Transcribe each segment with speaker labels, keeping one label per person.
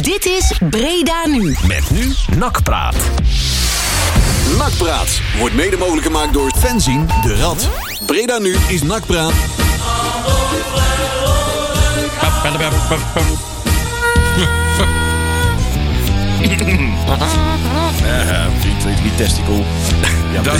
Speaker 1: Dit is Breda Nu.
Speaker 2: Met nu Nakpraat.
Speaker 3: Nakpraat wordt mede mogelijk gemaakt door Fenzin de Rad. Breda nu is Nakpraat.
Speaker 4: Niet testicle. Ja,
Speaker 5: Dat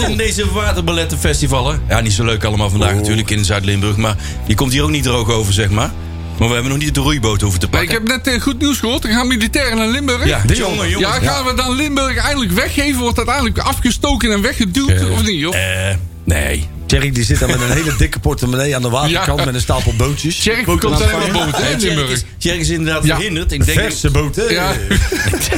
Speaker 5: is
Speaker 4: in deze waterballettenfestivalen. Ja, niet zo leuk allemaal vandaag natuurlijk in Zuid-Limburg. Maar je komt hier ook niet droog over, zeg maar. Maar we hebben nog niet de roeiboot hoeven te
Speaker 5: Maar
Speaker 4: pakken.
Speaker 5: ik heb net eh, goed nieuws gehoord. Er gaan militairen naar Limburg.
Speaker 4: Ja, de jongen, jongen.
Speaker 5: Ja, gaan we dan Limburg eindelijk weggeven? Wordt dat eindelijk afgestoken en weggeduwd? of niet, joh?
Speaker 4: Eh, nee.
Speaker 6: Thierry die zit daar met een hele dikke portemonnee aan de waterkant
Speaker 5: Ja.
Speaker 6: met een stapel bootjes.
Speaker 5: Tjerk komt alleen maar boven, hè,
Speaker 4: Eh, Tjerk is,
Speaker 5: Limburg?
Speaker 4: Tjerk is inderdaad
Speaker 5: Ja.
Speaker 4: verhinderd. Ik denk
Speaker 6: Verse boten.
Speaker 5: Ja.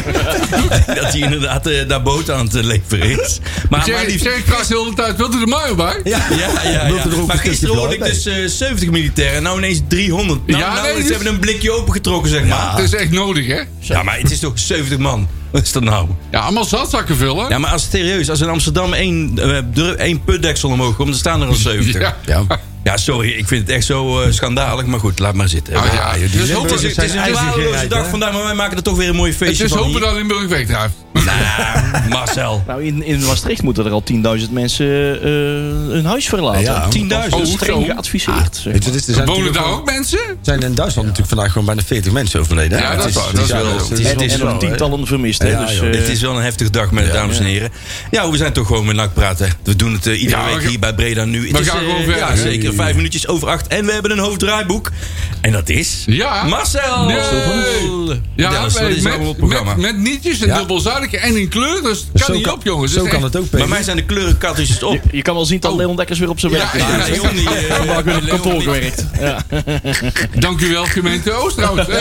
Speaker 4: dat hij inderdaad eh, daar boot aan te leveren is. Maar, maar
Speaker 5: Tjerk
Speaker 4: die,
Speaker 5: Tjerk vraagt de hele tijd, wilt u de mayo bij?
Speaker 6: Ja,
Speaker 4: Ja, ja,
Speaker 6: Wilt
Speaker 4: ja.
Speaker 6: u
Speaker 4: Maar
Speaker 6: er ook een stukje
Speaker 4: gisteren hoorde ik
Speaker 6: blauw
Speaker 4: dus eh, 70 militairen en nou ineens 300. Nou,
Speaker 5: Ja,
Speaker 4: nou,
Speaker 5: nee,
Speaker 4: ze
Speaker 5: dus-
Speaker 4: hebben een blikje opengetrokken, zeg maar.
Speaker 5: Het is echt nodig, hè?
Speaker 4: Ja, maar het is toch 70 man? Wat is dat nou?
Speaker 5: Ja, allemaal zatzakken vullen.
Speaker 4: Ja, maar als serieus, als in Amsterdam één, eh, dru- één putdeksel omhoog komt, dan staan er al 70.
Speaker 5: Ja.
Speaker 4: Ja, sorry, ik vind het echt zo eh, schandalig, maar goed, laat maar zitten.
Speaker 5: Ah, ja, joh, die
Speaker 4: Dus het
Speaker 5: Limburgers
Speaker 4: is, het is
Speaker 6: zijn
Speaker 4: een
Speaker 6: ijzig
Speaker 4: waardeloze
Speaker 6: gereid,
Speaker 4: dag
Speaker 6: hè?
Speaker 4: vandaag, maar wij maken er toch weer een mooi
Speaker 5: Het
Speaker 4: feestje
Speaker 5: is
Speaker 4: van.
Speaker 5: hopen
Speaker 4: hier.
Speaker 5: dat Limburg wegdrijft.
Speaker 4: Nou, Marcel.
Speaker 7: Nou, in, in Maastricht moeten er al 10.000 mensen eh, hun huis verlaten.
Speaker 6: Ja.
Speaker 4: 10.000.
Speaker 5: Oh,
Speaker 7: Streng
Speaker 5: zo.
Speaker 7: geadviseerd.
Speaker 4: Ah,
Speaker 7: zeg
Speaker 6: Weet je,
Speaker 7: maar.
Speaker 6: dit- er
Speaker 5: Wonen
Speaker 6: zijn, natuurlijk
Speaker 5: daar
Speaker 6: wel-
Speaker 5: ook mensen?
Speaker 6: zijn in Duitsland natuurlijk vandaag gewoon bijna 40 mensen overleden. hè?
Speaker 5: Ja,
Speaker 6: Het
Speaker 5: dat is waar, dat is wel-
Speaker 6: het
Speaker 4: het
Speaker 7: en
Speaker 4: is
Speaker 7: en
Speaker 4: wel,
Speaker 7: nog tientallen vermist.
Speaker 6: Ja,
Speaker 7: hè, dus,
Speaker 6: joh,
Speaker 7: eh,
Speaker 4: Het is wel een heftige dag, met dames en heren. Ja, we zijn toch gewoon met NAC praten. We doen het eh, iedere
Speaker 5: Ja, we
Speaker 4: week
Speaker 5: gaan-
Speaker 4: hier bij Breda nu. Het
Speaker 5: we
Speaker 4: is,
Speaker 5: gaan
Speaker 4: eh,
Speaker 5: gewoon verder,
Speaker 4: Ja,
Speaker 5: hè?
Speaker 4: zeker. Vijf minuutjes over acht. En we hebben een hoofddraaiboek. En dat is...
Speaker 5: Ja.
Speaker 4: Marcel!
Speaker 5: Nee.
Speaker 4: Ja, dat is
Speaker 5: met,
Speaker 4: allemaal op het programma.
Speaker 5: met, met nietjes en
Speaker 6: Ja.
Speaker 5: dubbelzadigen en in kleur. Dus het
Speaker 6: Zo
Speaker 5: kan niet
Speaker 6: kan-
Speaker 5: op, jongens.
Speaker 6: Zo
Speaker 5: Het is
Speaker 6: kan
Speaker 5: echt-
Speaker 6: het ook,
Speaker 4: Bij
Speaker 6: Peter.
Speaker 4: mij zijn de kleuren kattenjes op.
Speaker 7: je, je kan wel zien dat Leon Dekkers weer op zijn
Speaker 5: Ja,
Speaker 7: werk
Speaker 5: ja,
Speaker 4: Oh.
Speaker 7: is.
Speaker 4: Ja, Leon die... eh,
Speaker 7: Ik ben op
Speaker 4: Leon
Speaker 7: kantoor
Speaker 4: die-
Speaker 7: gewerkt. Ja.
Speaker 5: Dank u wel, gemeente Oost trouwens. Eh,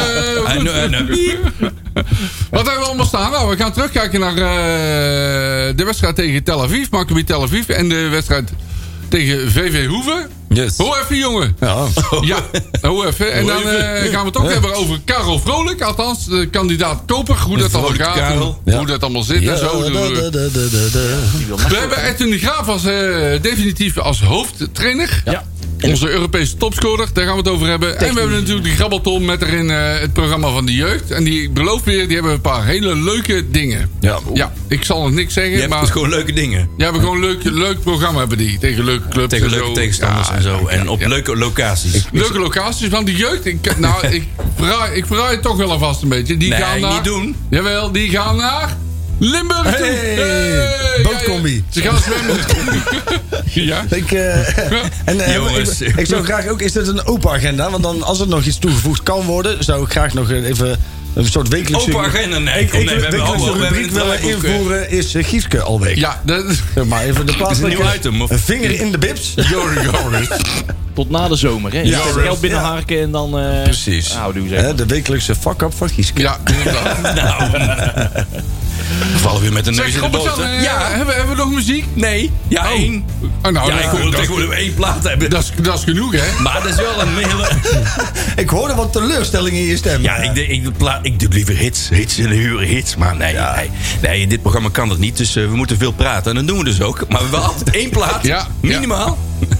Speaker 4: Ah,
Speaker 5: goed.
Speaker 4: nee, nee.
Speaker 5: Wat hebben we allemaal staan? Nou, we gaan terugkijken naar eh, de wedstrijd tegen Tel Aviv. Maccabi Tel Aviv en de wedstrijd tegen VV Hoeven.
Speaker 6: Yes.
Speaker 5: Hoe even, jongen.
Speaker 6: Ja.
Speaker 5: Ja, hoe even. En dan eh, gaan we het ook hebben over Karel Vrolijk. Althans, de kandidaat Koper. Hoe dat allemaal
Speaker 4: Vrolijke
Speaker 5: gaat.
Speaker 4: Karel.
Speaker 5: Hoe dat allemaal zit en zo.
Speaker 6: Ja, da, da, da, da, da, da.
Speaker 5: We hebben Edwin de Graaf als, eh, definitief als hoofdtrainer.
Speaker 7: Ja.
Speaker 5: Onze Europese topscorer, daar gaan we het over hebben. En we hebben natuurlijk die grabbelton met erin eh, het programma van de jeugd. En die, ik beloof weer, die hebben een paar hele leuke dingen.
Speaker 6: Ja.
Speaker 5: Ja, ik zal nog niks zeggen,
Speaker 4: Je hebt
Speaker 5: maar...
Speaker 4: dus gewoon leuke dingen.
Speaker 5: Ja, we hebben gewoon een leuk, leuk programma hebben die. Tegen leuke clubs
Speaker 4: Tegen
Speaker 5: en
Speaker 4: leuke
Speaker 5: zo.
Speaker 4: tegenstanders
Speaker 5: Ja,
Speaker 4: en zo. En op
Speaker 5: ja.
Speaker 4: leuke locaties.
Speaker 5: Leuke locaties, want die jeugd... Ik, nou, ik verraai, ik verraai het toch wel alvast een beetje. Die
Speaker 4: Nee,
Speaker 5: gaan naar,
Speaker 4: niet doen.
Speaker 5: Jawel, die gaan naar... Limburg toe.
Speaker 6: Hey,
Speaker 5: Hey,
Speaker 6: bootcombi.
Speaker 5: ja, Ze gaan zwemmen. ja.
Speaker 6: Ik, eh, en, eh,
Speaker 4: Jongens.
Speaker 6: ik, ik zou graag ook, is dit een open agenda? Want dan, als er nog iets toegevoegd kan worden, zou ik graag nog even een soort wekelijkse...
Speaker 4: Open agenda, nee.
Speaker 6: Ik,
Speaker 4: kom, nee, we hebben
Speaker 6: wekelijkse
Speaker 4: al- we hebben
Speaker 6: rubriek
Speaker 4: een
Speaker 6: willen
Speaker 4: draaiboek, eh.
Speaker 6: invoeren is eh, Gieske alweer.
Speaker 5: Ja, dat,
Speaker 6: Zeg maar even de plaats. eh,
Speaker 4: Is het een nieuw item, of?
Speaker 6: Een vinger in de bips.
Speaker 7: Tot na de zomer. Hè.
Speaker 6: Ja.
Speaker 7: Je kan geld binnenharken en dan... eh,
Speaker 6: Precies.
Speaker 5: Nou,
Speaker 7: Houdoe, zeg
Speaker 6: Hè,
Speaker 7: maar.
Speaker 6: de wekelijkse fuck-up van Gieske.
Speaker 5: ja, inderdaad.
Speaker 4: Nou, we vallen weer met een neus
Speaker 5: Zeg,
Speaker 4: in de
Speaker 5: Robert-Jan,
Speaker 4: boter.
Speaker 5: eh, hebben, hebben we nog muziek?
Speaker 4: Nee. Ja, één.
Speaker 5: Oh, nou,
Speaker 4: Oh. ja, ik
Speaker 5: dat,
Speaker 4: wil
Speaker 5: dat,
Speaker 4: tegenwoordig één plaat hebben.
Speaker 5: dat is, dat is genoeg, hè?
Speaker 4: maar dat is wel een hele...
Speaker 6: Ik hoorde wat teleurstelling in je stem.
Speaker 4: Ja, ik, denk- ik, pla- ik doe liever hits. Hits in de huren, hits. Maar nee, nee, nee, in dit programma kan dat niet. Dus eh, we moeten veel praten. En dat doen we dus ook. Maar we hebben altijd één plaat.
Speaker 5: Ja,
Speaker 4: minimaal.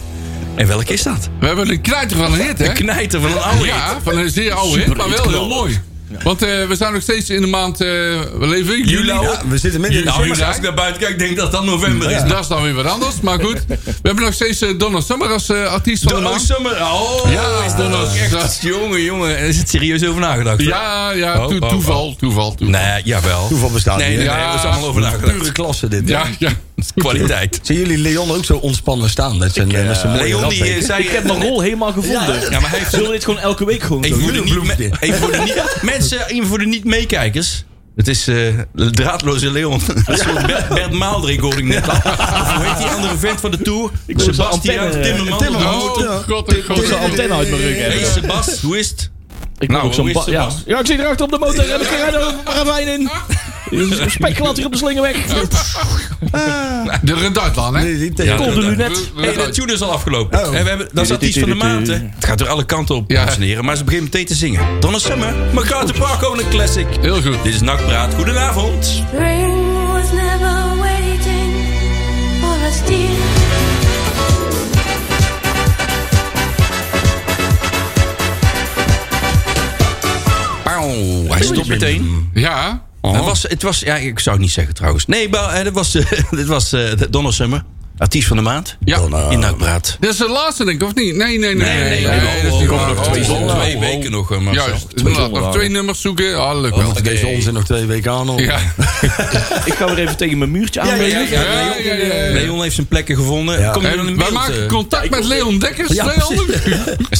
Speaker 4: En welke is dat?
Speaker 5: We hebben een knijter van een hit, hè?
Speaker 4: De knijter van een oude hit.
Speaker 5: Ja, van een zeer oude hit, maar wel heel mooi. Want eh, we zijn nog steeds in de maand... eh, we leven in juli.
Speaker 4: Juli.
Speaker 6: Ja, we zitten midden in de
Speaker 4: Nou,
Speaker 6: zomer.
Speaker 4: jongens, als ik naar buiten kijk, denk ik dat dat november is.
Speaker 5: Dus Dat is dan weer wat anders, maar goed. We hebben nog steeds eh, Donna Summer als eh, artiest van de
Speaker 4: Oh,
Speaker 5: maand.
Speaker 4: summer. Oh,
Speaker 5: Ja,
Speaker 4: is dat ook echt...
Speaker 5: dat-
Speaker 4: jongen, jongen. Er is het serieus over nagedacht. hoor.
Speaker 5: Ja, ja,
Speaker 4: Oh,
Speaker 5: to-
Speaker 4: oh, oh.
Speaker 5: toeval, toeval, toeval.
Speaker 4: Nee, jawel.
Speaker 6: Toeval bestaat
Speaker 4: Nee,
Speaker 6: niet,
Speaker 4: nee,
Speaker 6: hè?
Speaker 4: nee.
Speaker 5: Ja.
Speaker 4: Er is allemaal over
Speaker 6: Pure
Speaker 4: nagedacht.
Speaker 6: klasse dit.
Speaker 5: Ja, ja.
Speaker 4: Kwaliteit.
Speaker 6: Zien jullie Leon ook zo ontspannen staan? Dat zijn, eh, met zijn mooie
Speaker 4: Leon, die eh,
Speaker 6: rapbeken?
Speaker 4: zei...
Speaker 7: Ik heb mijn rol helemaal gevonden.
Speaker 4: Ja, maar hij heeft
Speaker 7: Zullen we dit gewoon elke week gewoon
Speaker 4: Even
Speaker 7: doen?
Speaker 4: voor de niet, me- even voor de niet, mensen, even voor de niet-meekijkers. Het is eh, draadloze Leon. Een soort Bert, Bert Maaldrink hoorde ik net al. Of hoe heet die andere vent van de Tour?
Speaker 7: wil zijn
Speaker 4: Sebastian
Speaker 7: antenne, eh,
Speaker 4: Timmerman.
Speaker 6: Timmerman.
Speaker 4: Oh,
Speaker 5: Oh, god, god, god.
Speaker 7: Ik wil de antenne uit mijn rug
Speaker 4: Hey
Speaker 7: hebben.
Speaker 4: Sebast, hoe is het?
Speaker 7: Ik wil
Speaker 4: Nou,
Speaker 7: ook zo'n
Speaker 4: hoe is
Speaker 7: ba-
Speaker 4: het,
Speaker 7: ja.
Speaker 4: Bas?
Speaker 7: ja, ik zit erachter op de motor en ik ga er ravijn in. Een Spekklater op de slingerweg.
Speaker 5: De Renduitlaan, hè?
Speaker 6: Nee, die
Speaker 4: Ja.
Speaker 6: tegen.
Speaker 7: Kom de lunet.
Speaker 4: Hey, de tune is al afgelopen.
Speaker 6: Oh.
Speaker 4: En we hebben, dat is artiest van de maand, hè. Het gaat door alle kanten op,
Speaker 5: Ja.
Speaker 4: dames en heren. Maar ze beginnen meteen te zingen. Donna Summer, MacArthur Park, gewoon een classic.
Speaker 5: Heel goed.
Speaker 4: Dit is Nakpraat. Goedenavond.
Speaker 8: Spring was never waiting for us, dear.
Speaker 4: Bam, Wauw, hij stopt meteen.
Speaker 5: Ja.
Speaker 4: Het was, het was, ja, ik zou het niet zeggen trouwens. Nee, maar eh, dat was, eh, dit was eh Donner Summer. Artiest van de maand.
Speaker 5: Ja.
Speaker 6: Ah.
Speaker 5: Donna.
Speaker 4: In Nakbraat.
Speaker 5: Dat is de laatste, denk ik, of niet? Nee, nee, nee.
Speaker 4: Nee, nee, nee.
Speaker 5: dat is niet
Speaker 4: Komt
Speaker 5: waar.
Speaker 4: nog
Speaker 5: Oh,
Speaker 4: twee,
Speaker 5: oh,
Speaker 4: twee
Speaker 5: oh.
Speaker 4: weken nog, eh, Marcel.
Speaker 5: Juist. Inderdaad, Nog twee nummers zoeken. Ah, leuk wel.
Speaker 6: Moet ik deze onzin nog twee weken aanhouden?
Speaker 5: Ja.
Speaker 7: Ik ga weer even tegen mijn muurtje aan.
Speaker 4: Ja, ja,
Speaker 5: Ja, ja, ja, ja.
Speaker 4: Leon heeft zijn plekken gevonden. Kom je dan
Speaker 5: En
Speaker 4: in
Speaker 5: wij
Speaker 4: beeld?
Speaker 5: maken
Speaker 4: eh?
Speaker 5: contact met Leon Dekkers.
Speaker 6: Ja,
Speaker 5: Leon.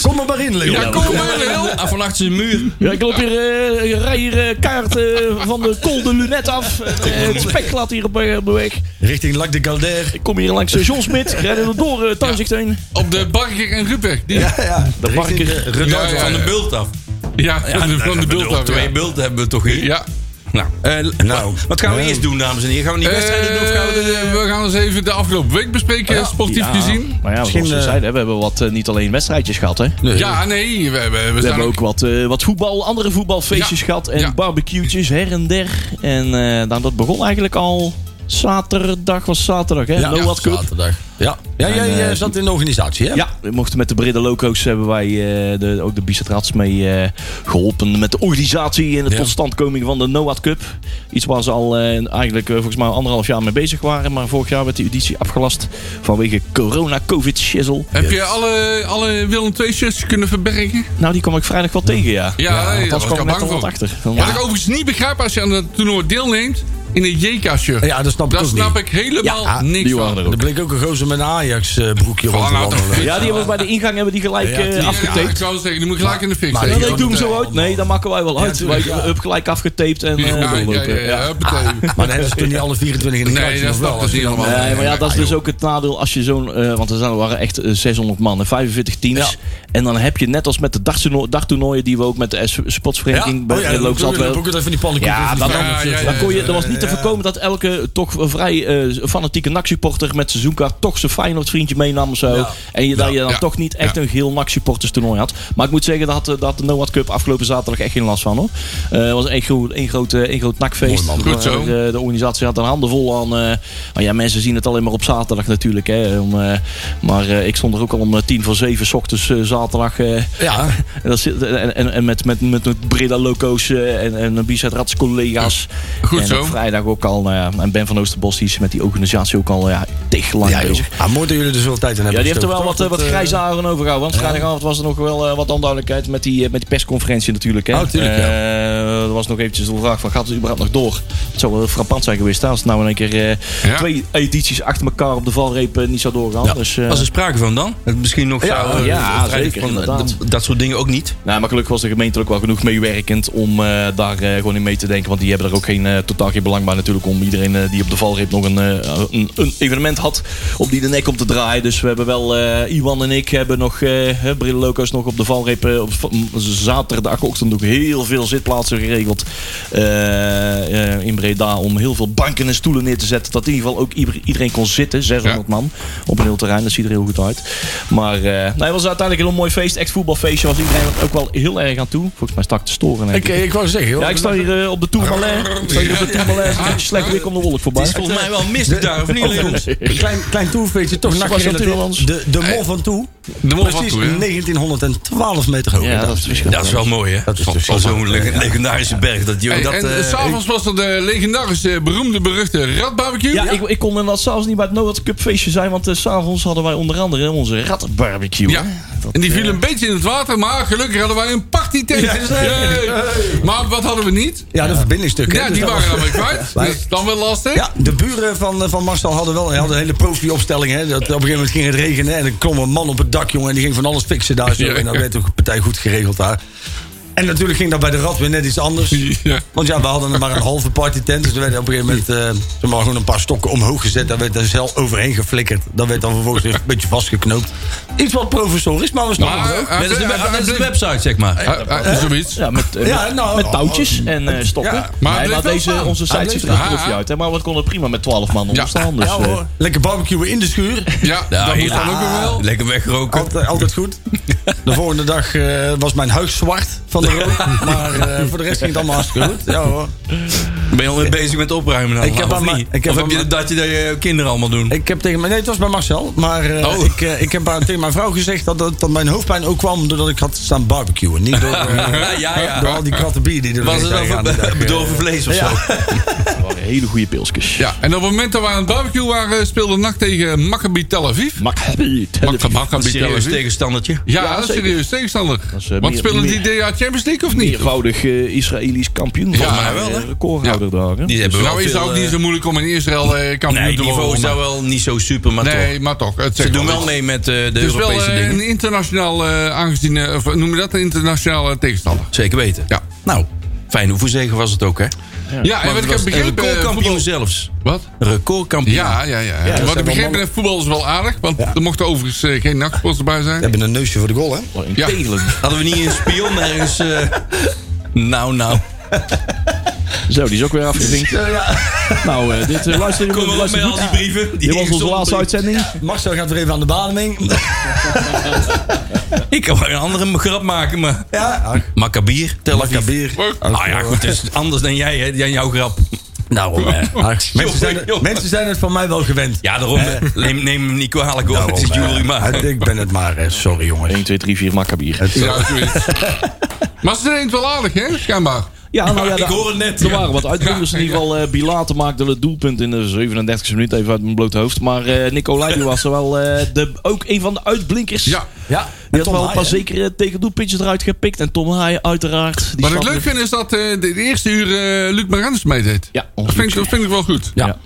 Speaker 6: Kom er maar in, Leon.
Speaker 5: Ja, kom maar, Leon.
Speaker 4: Ah, van achter zijn muur.
Speaker 7: Ja, ik loop hier, eh, ik rij hier eh, kaart eh, van de Col de Lunet af. Eh, het spek glad hier op, eh, op de weg.
Speaker 6: Richting Lac de Calder.
Speaker 7: Ik kom hier langs eh, John Smit. Ik rijd er door eh Tuinzicht heen.
Speaker 5: Op de Barker en Rupweg. Die-
Speaker 6: Ja, ja.
Speaker 7: Dat mag ik
Speaker 6: Richting
Speaker 7: er-
Speaker 6: de Renault.
Speaker 5: Ja, ja.
Speaker 4: Van de bult af.
Speaker 5: Ja, van de-
Speaker 4: nou,
Speaker 5: van de beeld
Speaker 4: op
Speaker 5: af.
Speaker 4: Twee
Speaker 5: ja.
Speaker 4: bulten hebben we toch hier.
Speaker 5: Ja.
Speaker 4: Nou, eh,
Speaker 6: Nou.
Speaker 4: wat- wat gaan we
Speaker 6: Ja.
Speaker 4: eerst doen, dames en heren? Gaan we die wedstrijden doen of gaan we de...
Speaker 5: Eh, we gaan eens even de afgelopen week bespreken, sportief gezien.
Speaker 7: Maar ja,
Speaker 6: Misschien,
Speaker 7: zoals we
Speaker 6: eh,
Speaker 7: zeiden, we hebben wat, eh, niet alleen wedstrijdjes gehad. Hè? We
Speaker 5: Ja, nee, we, hebben we zijn
Speaker 7: hebben
Speaker 5: ook...
Speaker 7: ook wat, eh, wat voetbal, andere voetbalfeestjes
Speaker 5: Ja,
Speaker 7: gehad. En
Speaker 5: ja.
Speaker 7: barbecue'tjes her en der. En eh, nou, dat begon eigenlijk al zaterdag. was zaterdag, hè?
Speaker 6: Ja,
Speaker 7: No
Speaker 6: ja,
Speaker 7: What Cup.
Speaker 6: zaterdag. Ja, ja jij eh, zat in de organisatie, hè?
Speaker 7: Ja, we mochten met de Brede Loco's hebben wij eh, de, ook de Bicetrats mee eh, geholpen met de organisatie en de totstandkoming van de NOAD Cup. Iets waar ze al eh, eigenlijk eh, volgens mij anderhalf jaar mee bezig waren, maar vorig jaar werd die editie afgelast vanwege corona covid shizzle
Speaker 5: Heb je alle, alle Willem II shirts kunnen verbergen?
Speaker 7: Nou, die kwam ik vrijdag wel tegen, ja.
Speaker 5: Ja, nee, daar
Speaker 7: althans
Speaker 5: was ik
Speaker 7: kwam
Speaker 5: al bang
Speaker 7: ik net al wat
Speaker 5: voor.
Speaker 7: achter. Van,
Speaker 5: Wat ik overigens niet begrijp als je aan het toernooi deelneemt in een JK-shirt.
Speaker 6: Ja, dat snap ik
Speaker 5: Daar
Speaker 6: ook
Speaker 5: snap
Speaker 6: niet.
Speaker 5: ik helemaal
Speaker 6: Ja,
Speaker 5: niks
Speaker 7: die
Speaker 5: van.
Speaker 7: waren er
Speaker 6: Er
Speaker 7: ook.
Speaker 6: bleek ook een gozer met een Ajax-broekje rond
Speaker 5: nou,
Speaker 6: te
Speaker 5: toch
Speaker 6: wandelen.
Speaker 5: fit.
Speaker 7: Ja, die hebben we bij de ingang hebben die gelijk
Speaker 6: Ja,
Speaker 7: eh,
Speaker 6: die-
Speaker 5: Ja, ik
Speaker 7: afgetaped.
Speaker 5: zou zeggen, die moet gelijk in de fik
Speaker 6: Maar-
Speaker 5: zetten.
Speaker 7: nee, doe hem zo uit. Nee, dat maken wij wel uit.
Speaker 6: tuurlijk,
Speaker 7: wij
Speaker 6: ja.
Speaker 7: hebben gelijk afgetaped en eh,
Speaker 5: Ja, ja,
Speaker 7: doorlopen.
Speaker 5: ja, ja,
Speaker 7: Ja.
Speaker 5: huppatee.
Speaker 6: Maar dan hebben ze toen niet alle 24 in de
Speaker 5: Nee,
Speaker 6: kruisje,
Speaker 5: dat
Speaker 6: of wel?
Speaker 5: snap ik niet allemaal.
Speaker 7: Nee, maar ja, dat is dus ook het nadeel als je zo'n... eh, want er zijn- er waren echt eh, 600 man, en 45 teams. En dan heb je net als met de dagtoerno- dagtoernooien... die we ook met de S- sportvereniging bij
Speaker 6: Oh ja,
Speaker 7: de Looks
Speaker 6: dan
Speaker 7: hadden.
Speaker 6: heb ik ook altijd van die pannenkoeken.
Speaker 7: Ja,
Speaker 6: van die
Speaker 7: maar
Speaker 5: ja,
Speaker 7: dan,
Speaker 5: ja, ja,
Speaker 7: dus- dan kon je, er was
Speaker 5: ja,
Speaker 7: niet te
Speaker 5: ja.
Speaker 7: voorkomen dat elke toch vrij eh, fanatieke NAC-supporter met seizoenkaart toch zijn Feyenoord vriendje meenam of zo.
Speaker 6: Ja.
Speaker 7: En je, dat je dan
Speaker 5: Ja.
Speaker 7: toch niet echt
Speaker 5: Ja.
Speaker 7: een geel NAC-supporters toernooi had. Maar ik moet zeggen, dat had, eh, dat de Noord Cup afgelopen zaterdag echt geen last van hoor. Eh, Het was één groot, één groot, eh, één groot NAC-feest.
Speaker 5: Mooi, man. Goed zo.
Speaker 7: Maar, eh, de organisatie had een handen vol aan. eh, maar ja, mensen zien het alleen maar op zaterdag natuurlijk. Hè, om, eh, maar eh, ik stond er ook al om eh, tien voor zeven 's ochtends eh, zaterdag. eh,
Speaker 6: Ja,
Speaker 7: en, dat zit, en, en, en met, met, met, met Breda Loco's eh, en, en Bizet Rats collega's.
Speaker 5: Goed
Speaker 7: en
Speaker 5: zo.
Speaker 7: op vrijdag ook al. nou ja, en Ben van Oosterbos die is met die organisatie ook al ja, tegen lang
Speaker 6: ja, joh.
Speaker 7: bezig.
Speaker 6: Ah, mooi dat jullie er zoveel tijd aan
Speaker 7: Ja,
Speaker 6: hebben.
Speaker 7: die heeft er wel wat,
Speaker 6: gestoken,
Speaker 7: eh, wat
Speaker 6: want, eh,
Speaker 7: grijze haren overgehouden. Want vrijdagavond was er nog wel eh, wat onduidelijkheid met die, eh, met die persconferentie natuurlijk. Hè.
Speaker 6: Oh, tuurlijk, ja.
Speaker 7: Eh, er was nog eventjes de vraag van, gaat het überhaupt nog door? Het zou wel frappant zijn geweest hè, als het nou in één keer eh,
Speaker 5: Ja.
Speaker 7: twee edities achter elkaar op de valreep eh, niet zou doorgaan. Dus, eh,
Speaker 4: Was er sprake van dan? Het misschien nog
Speaker 7: Ja,
Speaker 4: zou... eh,
Speaker 7: ja,
Speaker 4: het rijden
Speaker 7: zeker,
Speaker 4: van, eh,
Speaker 7: inderdaad.
Speaker 4: dat- Dat soort dingen ook niet.
Speaker 7: Nou, maar gelukkig was de gemeente ook wel genoeg meewerkend om eh, daar eh, gewoon in mee te denken. Want die hebben er ook geen, eh, totaal geen belang bij natuurlijk om iedereen eh, die op de valreep nog een, eh, een, een evenement had om die de nek om te draaien. Dus we hebben wel, eh, Iwan en ik hebben nog, eh Brille Loco's nog op de valreep eh, op v- m- zaterdagochtend ook heel veel zitplaatsen geregeld eh, eh, in Breda. Om heel veel banken en stoelen neer te zetten. Dat in ieder geval ook ieder- iedereen kon zitten, 600
Speaker 5: Ja.
Speaker 7: man op een heel terrein. Dat ziet er heel goed uit. Maar eh, nee, het was uiteindelijk een heel mooi feest. Echt voetbalfeestje was iedereen er ook wel heel erg aan toe. Volgens mij sta ik te storen. denk
Speaker 6: Ik,
Speaker 7: ik.
Speaker 6: ik wou zeggen, joh.
Speaker 7: ja, ik sta hier eh, op de Tourmalet. Ik sta hier op de Tourmalet. Het is een beetje slecht weer, komt de wolk voorbij.
Speaker 4: Het is volgens mij wel mistig daar, of niet? Leon?
Speaker 6: Een Oh, klein, klein toefeetje, toch
Speaker 7: Was
Speaker 6: nak
Speaker 7: dat
Speaker 6: gerelateerd.
Speaker 7: Timmermans?
Speaker 6: De, de mol van toe.
Speaker 5: De mol van
Speaker 6: Precies
Speaker 5: toe, hè?
Speaker 6: 1912 meter hoog.
Speaker 7: Ja, dat is misschien
Speaker 4: Dat is wel mooi, hè?
Speaker 6: Dat is dus
Speaker 4: Van- van
Speaker 6: jammer.
Speaker 4: zo'n leg- legendarische berg. Dat, joh,
Speaker 5: Hey,
Speaker 4: dat,
Speaker 5: en
Speaker 4: eh,
Speaker 5: eh, s'avonds was er de legendarische, eh, beroemde, beruchte ratbarbecue.
Speaker 7: Ja, ik, ik kon inderdaad s'avonds niet bij het Noord Cup feestje zijn, want eh, 's s'avonds hadden wij onder andere onze rattenbarbecue.
Speaker 5: Ja. en die viel
Speaker 7: eh,
Speaker 5: een beetje in het water, maar gelukkig hadden wij een party tent. Maar wat hadden we niet?
Speaker 6: Ja, de verbindingsstukken.
Speaker 5: Ja,
Speaker 6: dus
Speaker 5: die
Speaker 6: dat
Speaker 5: waren
Speaker 6: was-
Speaker 5: allemaal kwijt. Dus-
Speaker 6: Wij-
Speaker 5: Dat is dan wel lastig.
Speaker 6: Ja, de buren van, eh, van Marcel hadden wel hadden een hele profi-opstelling. Hè. Dat, op een gegeven moment ging het regenen en er kwam een man op het dak, jongen. En die ging van alles fixen daar zo.
Speaker 5: Ja.
Speaker 6: En dat werd ook een partij goed geregeld daar. En natuurlijk ging dat bij de Rad weer net iets anders.
Speaker 5: Ja.
Speaker 6: Want ja, we hadden maar een halve party tent. Dus er werden op een gegeven moment eh, zeg maar, gewoon een paar stokken omhoog gezet. Daar werd er zelf overheen geflikkerd. Dat werd dan vervolgens weer een beetje vastgeknoopt. Iets wat professorisch, maar we snappen het
Speaker 5: Maar,
Speaker 6: ook.
Speaker 5: eh,
Speaker 4: net als de,
Speaker 5: eh,
Speaker 4: net als de
Speaker 5: eh,
Speaker 4: website, zeg maar.
Speaker 5: eh, eh, Zoiets.
Speaker 7: Ja, met, eh,
Speaker 6: Ja,
Speaker 7: met,
Speaker 6: nou,
Speaker 7: met touwtjes en eh, stokken.
Speaker 6: ja.
Speaker 5: Maar
Speaker 7: maar
Speaker 5: het
Speaker 7: nee,
Speaker 5: bleef
Speaker 7: maar
Speaker 5: wel
Speaker 7: deze,
Speaker 5: staan.
Speaker 7: onze
Speaker 6: Het
Speaker 7: site
Speaker 6: bleef
Speaker 7: ziet er
Speaker 5: staan.
Speaker 7: profi uit, hè, maar we konden prima met 12 man onderstaan. Dus,
Speaker 6: Ja,
Speaker 7: eh,
Speaker 6: hoor. Lekker barbecuen in de schuur.
Speaker 5: Ja, dat moet dan ook nog wel.
Speaker 4: Lekker wegroken.
Speaker 6: Altijd, altijd goed. De volgende dag eh, was mijn huis zwart van de rook. Maar eh, voor de rest ging het allemaal hartstikke goed. Ja hoor.
Speaker 4: ben je al mee bezig met opruimen dan?
Speaker 6: Ik heb
Speaker 4: of
Speaker 6: aan
Speaker 4: niet?
Speaker 6: mijn- ik heb
Speaker 4: of heb
Speaker 6: aan
Speaker 4: je
Speaker 6: mijn-
Speaker 4: dat je dat je kinderen allemaal doen?
Speaker 6: Ik heb tegen mijn, nee, het was bij Marcel. Maar eh,
Speaker 4: Oh.
Speaker 6: ik, eh, ik heb aan- tegen mijn vrouw gezegd dat, dat, dat mijn hoofdpijn ook kwam doordat ik had staan barbecuen. Niet door, eh,
Speaker 4: Ja, ja, ja.
Speaker 6: door al die kratten bier die er
Speaker 4: Was
Speaker 6: doorheen
Speaker 4: het
Speaker 6: zijn
Speaker 4: over
Speaker 6: gegaan die dag,
Speaker 4: be-
Speaker 6: eh.
Speaker 4: bedorven vlees of
Speaker 6: Ja.
Speaker 4: zo?
Speaker 7: Dat waren hele goede pilsjes.
Speaker 5: Ja, en op het moment dat we aan het barbecue waren, speelde NAC tegen Maccabi Tel Aviv.
Speaker 7: Maccabi Tel Aviv.
Speaker 5: Maccabi,
Speaker 4: Een
Speaker 5: Maccabi Tel
Speaker 4: serieus
Speaker 5: Aviv.
Speaker 4: tegenstandertje.
Speaker 5: Ja,
Speaker 7: Ja,
Speaker 5: dat is
Speaker 7: zeker.
Speaker 5: serieus tegenstander.
Speaker 7: Dat is, eh,
Speaker 5: Want
Speaker 7: meer-
Speaker 5: spelen die
Speaker 7: meer-
Speaker 5: dit jaar Champions League of niet?
Speaker 7: Meervoudig eh, Israëlisch kampioen.
Speaker 5: Ja,
Speaker 7: Volgens mij
Speaker 4: wel, hè?
Speaker 7: eh, Recordhouder daar. hè?
Speaker 4: Die hebben
Speaker 5: Nou
Speaker 4: wel
Speaker 5: is het
Speaker 4: veel,
Speaker 5: ook niet
Speaker 4: eh,
Speaker 5: zo moeilijk om in Israël eh, kampioen
Speaker 4: Nee, het
Speaker 5: te
Speaker 4: niveau is
Speaker 5: worden.
Speaker 4: daar wel niet zo super, maar toch.
Speaker 5: Nee, maar toch. Het
Speaker 4: Ze
Speaker 5: zegt
Speaker 4: doen wel
Speaker 5: iets.
Speaker 4: mee met eh, de
Speaker 5: Het is wel
Speaker 4: Europese
Speaker 5: eh,
Speaker 4: dingen.
Speaker 5: een internationaal eh, aangezien, eh, of noem je dat, een internationale tegenstander.
Speaker 4: Zeker weten.
Speaker 5: Ja.
Speaker 4: Nou, fijn hoeverzegen was het ook, hè?
Speaker 5: Ja, en
Speaker 4: Maar
Speaker 5: wat ik heb
Speaker 4: het was een
Speaker 5: begrepen... eh,
Speaker 4: recordkampioen
Speaker 5: voetbal-
Speaker 4: zelfs.
Speaker 5: Wat?
Speaker 4: Recordkampioen.
Speaker 5: Ja, ja, ja.
Speaker 6: dat
Speaker 5: wat
Speaker 6: zijn
Speaker 5: ik
Speaker 6: wel
Speaker 5: begrepen
Speaker 6: mannen.
Speaker 5: heb, voetbal is wel aardig. Want
Speaker 6: Ja.
Speaker 5: er mochten overigens eh, geen nachtsporters bij
Speaker 6: We
Speaker 5: zijn.
Speaker 6: hebben een neusje voor de goal, hè?
Speaker 7: Wat een
Speaker 5: Ja.
Speaker 7: tegelen.
Speaker 4: Hadden we niet een spion ergens... eh, nou, nou.
Speaker 7: Zo, die is ook weer afgevinkt. Nou, eh, dit eh, luister je
Speaker 4: Kom op
Speaker 7: luister
Speaker 4: met al
Speaker 7: goed.
Speaker 4: die brieven. Die
Speaker 7: Dit was onze
Speaker 4: ingezonden
Speaker 7: laatste
Speaker 4: brieven.
Speaker 7: uitzending.
Speaker 6: Marcel gaat weer even aan de bademing.
Speaker 4: Ik kan wel een andere grap maken, maar...
Speaker 6: Ja,
Speaker 4: Maccabier, Tel Aviv.
Speaker 6: bier.
Speaker 4: Nou ja, goed, het is anders dan jij, hè? Dan jouw grap.
Speaker 6: Nou, eh, ach, mensen, zijn,
Speaker 4: jongen.
Speaker 6: mensen zijn het van mij wel gewend.
Speaker 4: Ja, daarom. eh, Neem, neem hem niet kwalijk, hoor.
Speaker 6: Daarom,
Speaker 4: het is
Speaker 6: eh,
Speaker 4: jullie maar.
Speaker 6: het- Ik ben het maar, eh, sorry
Speaker 7: 1,
Speaker 6: jongens.
Speaker 7: 2, 3, 4, Maccabier.
Speaker 6: Het,
Speaker 5: Ja, zoiets. maar ze zijn het wel aardig, hè? Schijnbaar.
Speaker 7: Ja, nou ja,
Speaker 4: Ik
Speaker 7: daar-
Speaker 4: hoor het net.
Speaker 7: Er waren wat uitbunders in ieder geval. eh Bilate maakte het doelpunt in de 37e minuut, even uit mijn blote hoofd. Maar eh Nico Leijer was er wel eh, de, ook een van de uitblinkers.
Speaker 5: Ja.
Speaker 6: ja,
Speaker 7: Die
Speaker 6: en
Speaker 7: had
Speaker 6: Tom
Speaker 7: wel een
Speaker 6: Haaien.
Speaker 7: paar zekere tegen doelpuntjes eruit gepikt. En Tom Haaien uiteraard. Die
Speaker 5: Wat ik
Speaker 7: snapte-
Speaker 5: leuk vind is dat eh, de, de eerste uur eh, Luc Marens meedeed.
Speaker 7: Ja,
Speaker 5: dat vind, ik, dat vind ik wel goed.
Speaker 7: Ja.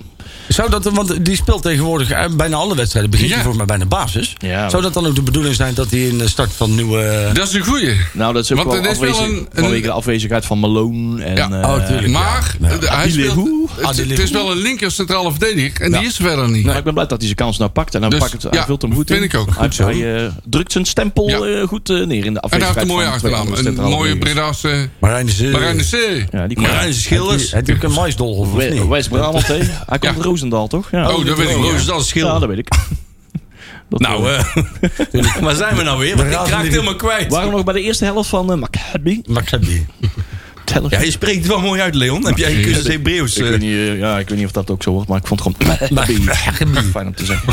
Speaker 6: Zou dat, want die speelt tegenwoordig eh, bijna alle wedstrijden. Begint
Speaker 5: Ja.
Speaker 6: hij volgens mij bij de basis.
Speaker 7: Ja.
Speaker 6: Zou dat dan ook de bedoeling zijn dat hij in de start van nieuwe...
Speaker 5: Dat is een goeie.
Speaker 7: Nou, dat is ook
Speaker 5: Want
Speaker 7: wel
Speaker 5: er is wel
Speaker 7: afwezig,
Speaker 5: een- een-
Speaker 7: vanwege de afwezigheid van Malone. En,
Speaker 5: Ja.
Speaker 7: eh,
Speaker 6: Oh, tuurlijk.
Speaker 5: Maar eh, hij
Speaker 7: Adile
Speaker 5: speelt,
Speaker 7: Hoe?
Speaker 5: het,
Speaker 6: Adile
Speaker 5: het is
Speaker 6: Hoe.
Speaker 5: wel een linker centrale verdediger. En die is er verder niet.
Speaker 7: maar ik ben blij dat hij zijn kans nou pakt. En hij,
Speaker 5: Dus,
Speaker 7: pakt het, hij
Speaker 5: ja,
Speaker 7: vult hem goed
Speaker 5: vind
Speaker 7: in.
Speaker 5: ik ook.
Speaker 7: Hij,
Speaker 5: Goed zo.
Speaker 7: hij eh, drukt zijn stempel
Speaker 5: Ja.
Speaker 7: eh, goed eh, neer in de
Speaker 5: En hij heeft
Speaker 7: afwezigheid
Speaker 5: een mooie
Speaker 7: van twee
Speaker 5: achternaam.
Speaker 7: andere
Speaker 5: Een
Speaker 7: centrale
Speaker 5: mooie
Speaker 7: verdedigers.
Speaker 5: Breda's.
Speaker 6: Marijn is... eh,
Speaker 5: Marijn de Zee.
Speaker 7: Ja, die komt-
Speaker 4: Marijn Schillers.
Speaker 6: Hij heeft ook een maisdol, of
Speaker 7: We-
Speaker 6: niet?
Speaker 7: West-Brabant, hè? Hij komt
Speaker 5: Ja.
Speaker 7: uit Roosendaal, toch? Ja.
Speaker 5: Oh, dat weet ik
Speaker 4: Oh,
Speaker 5: niet.
Speaker 4: is dat een schil?
Speaker 7: Ja, dat weet ik. Dat,
Speaker 4: nou,
Speaker 7: eh,
Speaker 4: eh, waar zijn we nou weer? Want ik raak het helemaal kwijt.
Speaker 7: waren we nog bij de eerste helft van eh, Maccabi.
Speaker 6: Maccabi.
Speaker 7: Tel
Speaker 4: Ja, je spreekt het wel mooi uit, Leon. Heb jij een cursus Hebreeuws?
Speaker 7: ik,
Speaker 4: eh,
Speaker 7: weet niet, eh, ja, ik weet niet of dat ook zo wordt, maar ik vond het gewoon fijn om te zeggen.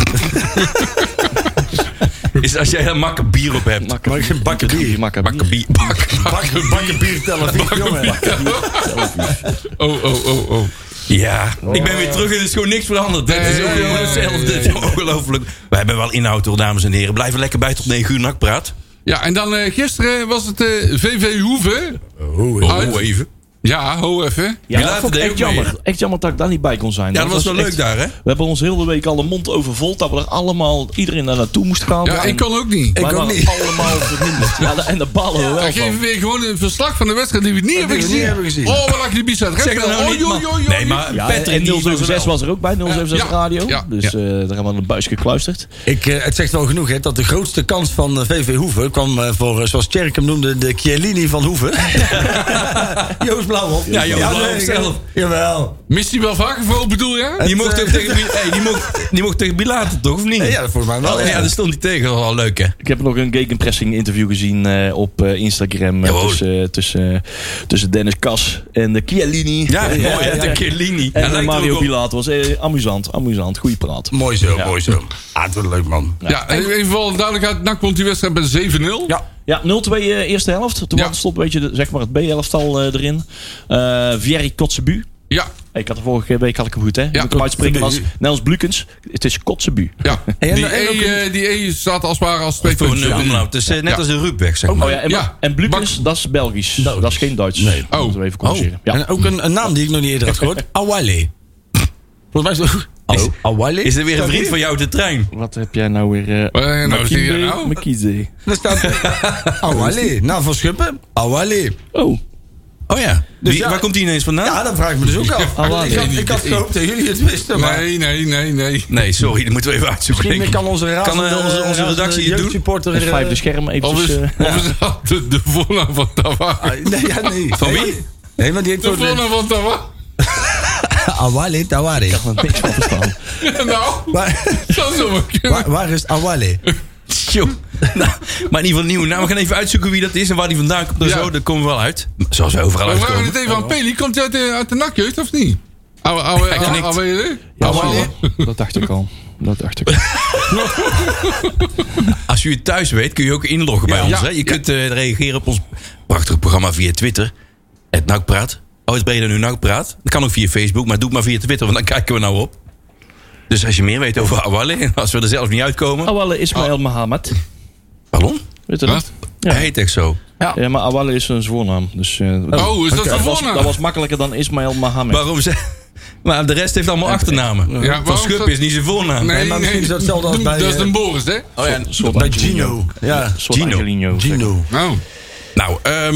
Speaker 4: Is als jij een makker bier op hebt.
Speaker 7: Maccabi. Maccabi. Maccabi.
Speaker 4: Maccabi.
Speaker 6: Bakken, bakken bier tellen. jongen.
Speaker 5: Oh, oh, oh, oh.
Speaker 4: Ja, ik ben weer terug en er is gewoon niks veranderd. Het is ook
Speaker 5: Nee,
Speaker 4: weer hetzelfde. Het is ongelooflijk. We hebben wel inhoud hoor, dames en heren. Blijven lekker bij tot 9 uur nakpraat.
Speaker 5: Ja, en dan eh, gisteren was het eh, VV Hoeve.
Speaker 4: Oh,
Speaker 5: Uit.
Speaker 4: even.
Speaker 5: Ja, ho even.
Speaker 7: Ja,
Speaker 4: Ja,
Speaker 7: dat
Speaker 4: dat
Speaker 7: vond ik
Speaker 4: deed
Speaker 7: echt
Speaker 4: ook mee,
Speaker 7: jammer. Echt jammer dat ik daar niet bij kon zijn.
Speaker 4: Ja, dat was wel leuk
Speaker 7: echt-
Speaker 4: daar, hè?
Speaker 7: We hebben ons heel de week al de mond over vol. Dat we er allemaal, iedereen daar naartoe moest gaan.
Speaker 5: Ja, ik kon ook niet.
Speaker 7: Ik
Speaker 6: ook
Speaker 7: niet. allemaal verhinderd. Ja, da- en daar ballen we wel
Speaker 5: Dan geven we
Speaker 7: van.
Speaker 5: weer gewoon een verslag van de wedstrijd die we niet hebben
Speaker 6: we
Speaker 5: gezien.
Speaker 6: niet hebben gezien.
Speaker 5: Oh, wat lag die bies uit. Oh,
Speaker 4: Zeg dat nou niet, man. Nee, maar
Speaker 7: Ja,
Speaker 4: Patrick
Speaker 7: en
Speaker 4: die was er
Speaker 7: 076
Speaker 4: wel.
Speaker 7: was er ook bij, 076
Speaker 5: Ja, ja,
Speaker 7: Radio.
Speaker 5: ja,
Speaker 7: dus eh, daar hebben we aan de buis gekluisterd.
Speaker 6: Ik, eh, het zegt wel genoeg hè, dat de grootste kans van eh, VV Hoeven kwam eh, voor, eh, zoals Tjerk hem noemde, de Chiellini van Hoeven. Joost Blauwhof.
Speaker 4: Ja, Joost Blauwhof
Speaker 6: ik-
Speaker 4: zelf.
Speaker 6: Jawel.
Speaker 5: Mist hij wel vaker voor, bedoel je?
Speaker 4: Die
Speaker 6: Het,
Speaker 4: mocht
Speaker 6: eh,
Speaker 4: ook tegen, Bi- hey, die mocht, die mocht tegen Bilater, toch? Of niet?
Speaker 6: Ja, volgens mij wel.
Speaker 4: Oh, ja, dat stond hij tegen. Dat was wel leuk, hè?
Speaker 7: Ik heb nog een gegenpressing interview gezien eh, op eh, Instagram. eh,
Speaker 4: Jawel.
Speaker 7: tussen, tussen, eh, tussen Dennis Kas en de Chiellini.
Speaker 4: Ja,
Speaker 7: Eh,
Speaker 4: mooi. hè? de Chiellini.
Speaker 7: En
Speaker 4: Ja,
Speaker 7: eh,
Speaker 4: lijkt er ook
Speaker 7: Mario
Speaker 4: op.
Speaker 7: Pilaat was eh, amusant, amusant. Goeie praat.
Speaker 6: Mooi zo, mooi zo. Ah, het wordt leuk man.
Speaker 5: Ja, en even voor alle duidelijkheid. NAC won die wedstrijd met 7-0. Ja.
Speaker 7: Ja, 0-2 eh, eerste helft. Toen
Speaker 5: Ja.
Speaker 7: was stond een beetje de, zeg maar het B-helftal eh, erin. Eh Vieri Kotzebu.
Speaker 5: Ja.
Speaker 7: Ik had de vorige week had ik hem goed, hè? Ja, ik hem uitspreken als Nels Blukens. Het is Kotzebu.
Speaker 5: ja.
Speaker 6: en-
Speaker 5: Die,
Speaker 6: en ook
Speaker 5: e, eh, die E staat als het ware als twee
Speaker 4: Voor een
Speaker 5: punten. Ja.
Speaker 4: omlaag. Het is eh, net
Speaker 5: Ja.
Speaker 4: als een Ruupweg, zeg maar.
Speaker 7: Oh ja, en,
Speaker 5: Ja.
Speaker 7: en Blukens, dat is Belgisch. Dat is geen Duits. Nee.
Speaker 5: Oh.
Speaker 7: Moeten we even corrigeren. Ja.
Speaker 6: En ook een, een naam die ik nog niet eerder had gehoord. Awale. Volgens mij is het... Hallo? Awale?
Speaker 4: Is er weer een vriend van jou op de trein?
Speaker 7: Wat heb jij nou weer... eh,
Speaker 5: Wat nou,
Speaker 7: Makinde,
Speaker 5: zie je nou?
Speaker 7: Makinde.
Speaker 6: Daar staat... Awale. Nou, van Schuppen. Awale.
Speaker 7: Oh,
Speaker 4: Oh ja. Wie-
Speaker 6: Dus ja-
Speaker 4: waar komt die ineens vandaan?
Speaker 6: Ja, dat vraag ik me dus ook af.
Speaker 7: Awale.
Speaker 6: Ik had, ik had gehoopt dat jullie het wisten, maar...
Speaker 5: Nee, nee, nee, nee.
Speaker 4: Nee, sorry, dat moeten we even uitzoeken. denk
Speaker 6: Misschien
Speaker 4: ik.
Speaker 6: kan onze, razende,
Speaker 4: eh, onze- onze
Speaker 6: razende
Speaker 4: redactie het doen?
Speaker 6: jeugdsupporter,
Speaker 7: het vijfde
Speaker 6: eh,
Speaker 7: scherm
Speaker 5: Of
Speaker 7: eventjes...
Speaker 5: is,
Speaker 7: eh,
Speaker 5: of is dat de, de voornaam van Tawar?
Speaker 6: Nee, ja, nee.
Speaker 4: Van wie?
Speaker 6: Nee, Nee, want die heeft
Speaker 5: De
Speaker 6: voor
Speaker 5: voornaam van Tawar?
Speaker 6: Awale Tawari.
Speaker 7: niks van verstaan.
Speaker 5: Nou,
Speaker 6: Waar,
Speaker 5: dat zou wel kunnen.
Speaker 6: waar, waar is Awale?
Speaker 4: Tjoh. Nou, maar in ieder geval een nieuwe naam. We gaan even uitzoeken wie dat is en waar die vandaan komt. En
Speaker 5: Ja.
Speaker 4: zo, daar komen we wel uit. Zoals we overal
Speaker 5: We vragen het
Speaker 4: uitkomen.
Speaker 5: even aan Peli. Komt hij uit de, uit de nakjeugd of niet? Oude, oude,
Speaker 4: Hij
Speaker 5: oude,
Speaker 4: knikt.
Speaker 5: oude,
Speaker 7: Ja, maar- dat dacht ik al. Dat dacht ik al.
Speaker 4: Als u het thuis weet, kun je ook inloggen bij
Speaker 5: Ja.
Speaker 4: ons.
Speaker 5: Ja.
Speaker 4: Hè? Je kunt eh, reageren op ons prachtige programma via Twitter. Het Nakpraat. Oh, het Breda nu Nakpraat. Dat kan ook via Facebook, maar doe het maar via Twitter, want dan kijken we nou op. Dus als je meer weet over Awale, en als we er zelf niet uitkomen.
Speaker 7: Awale Ismail Mohammed.
Speaker 4: Pardon?
Speaker 7: Weet je
Speaker 5: Wat?
Speaker 7: dat?
Speaker 4: Hij heet echt zo.
Speaker 7: Ja, maar Awale is een zwoornaam. Dus, eh,
Speaker 5: Oh, is dat
Speaker 7: dat,
Speaker 5: een
Speaker 7: was,
Speaker 5: voornaam?
Speaker 7: dat was makkelijker dan Ismail Mohammed.
Speaker 4: Waarom ze. Maar de rest heeft allemaal achternamen.
Speaker 5: waarom
Speaker 4: Van Schuppen
Speaker 5: dat-
Speaker 4: is niet zijn voornaam.
Speaker 5: Nee, nee,
Speaker 6: misschien is dat hetzelfde als bij,
Speaker 5: Dat is
Speaker 6: eh,
Speaker 5: een Boris, hè?
Speaker 7: Oh ja, een soort
Speaker 6: Bij
Speaker 7: Angelino.
Speaker 6: Gino. Ja,
Speaker 7: Een soort
Speaker 4: Gino.
Speaker 7: Angelino. zeg.
Speaker 6: Gino.
Speaker 5: Nou,
Speaker 4: Nou, ehm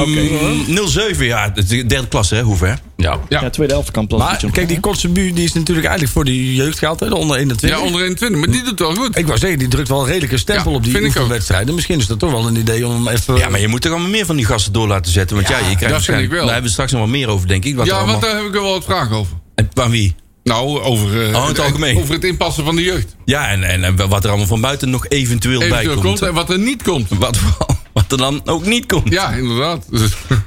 Speaker 4: 07, ja, de derde klasse, hè, hoeven, hè? Ja.
Speaker 7: Ja, tweede helft kan plaats.
Speaker 6: Maar Ah, kijk, die Kotzebu die is natuurlijk eigenlijk voor die jeugd gehaald, hè, de onder 21.
Speaker 5: ja, onder 21. Maar die doet wel goed.
Speaker 6: Ik wou zeggen, die drukt wel een redelijke stempel
Speaker 5: Ja,
Speaker 6: op die
Speaker 5: vind ik ook.
Speaker 6: oefenwedstrijden. Misschien is dat toch wel een idee om hem even...
Speaker 4: Ja, maar je moet er allemaal meer van die gasten door laten zetten. Want ja, je krijgt
Speaker 5: dat vind ik
Speaker 4: waarschijnlijk-
Speaker 5: wel.
Speaker 4: Daar hebben we straks nog wel meer over, denk ik. Wat er
Speaker 5: Ja, want
Speaker 4: allemaal...
Speaker 5: daar heb ik wel wat vragen over.
Speaker 4: En Van wie?
Speaker 5: Nou, over, eh,
Speaker 4: Oh, het algemeen.
Speaker 5: over het inpassen van de jeugd.
Speaker 4: Ja, en, en, en wat er allemaal van buiten nog eventueel,
Speaker 5: Eventueel
Speaker 4: bij
Speaker 5: komt
Speaker 4: komt.
Speaker 5: en wat er niet komt.
Speaker 4: Wat, wat er dan ook niet komt.
Speaker 5: Ja, inderdaad.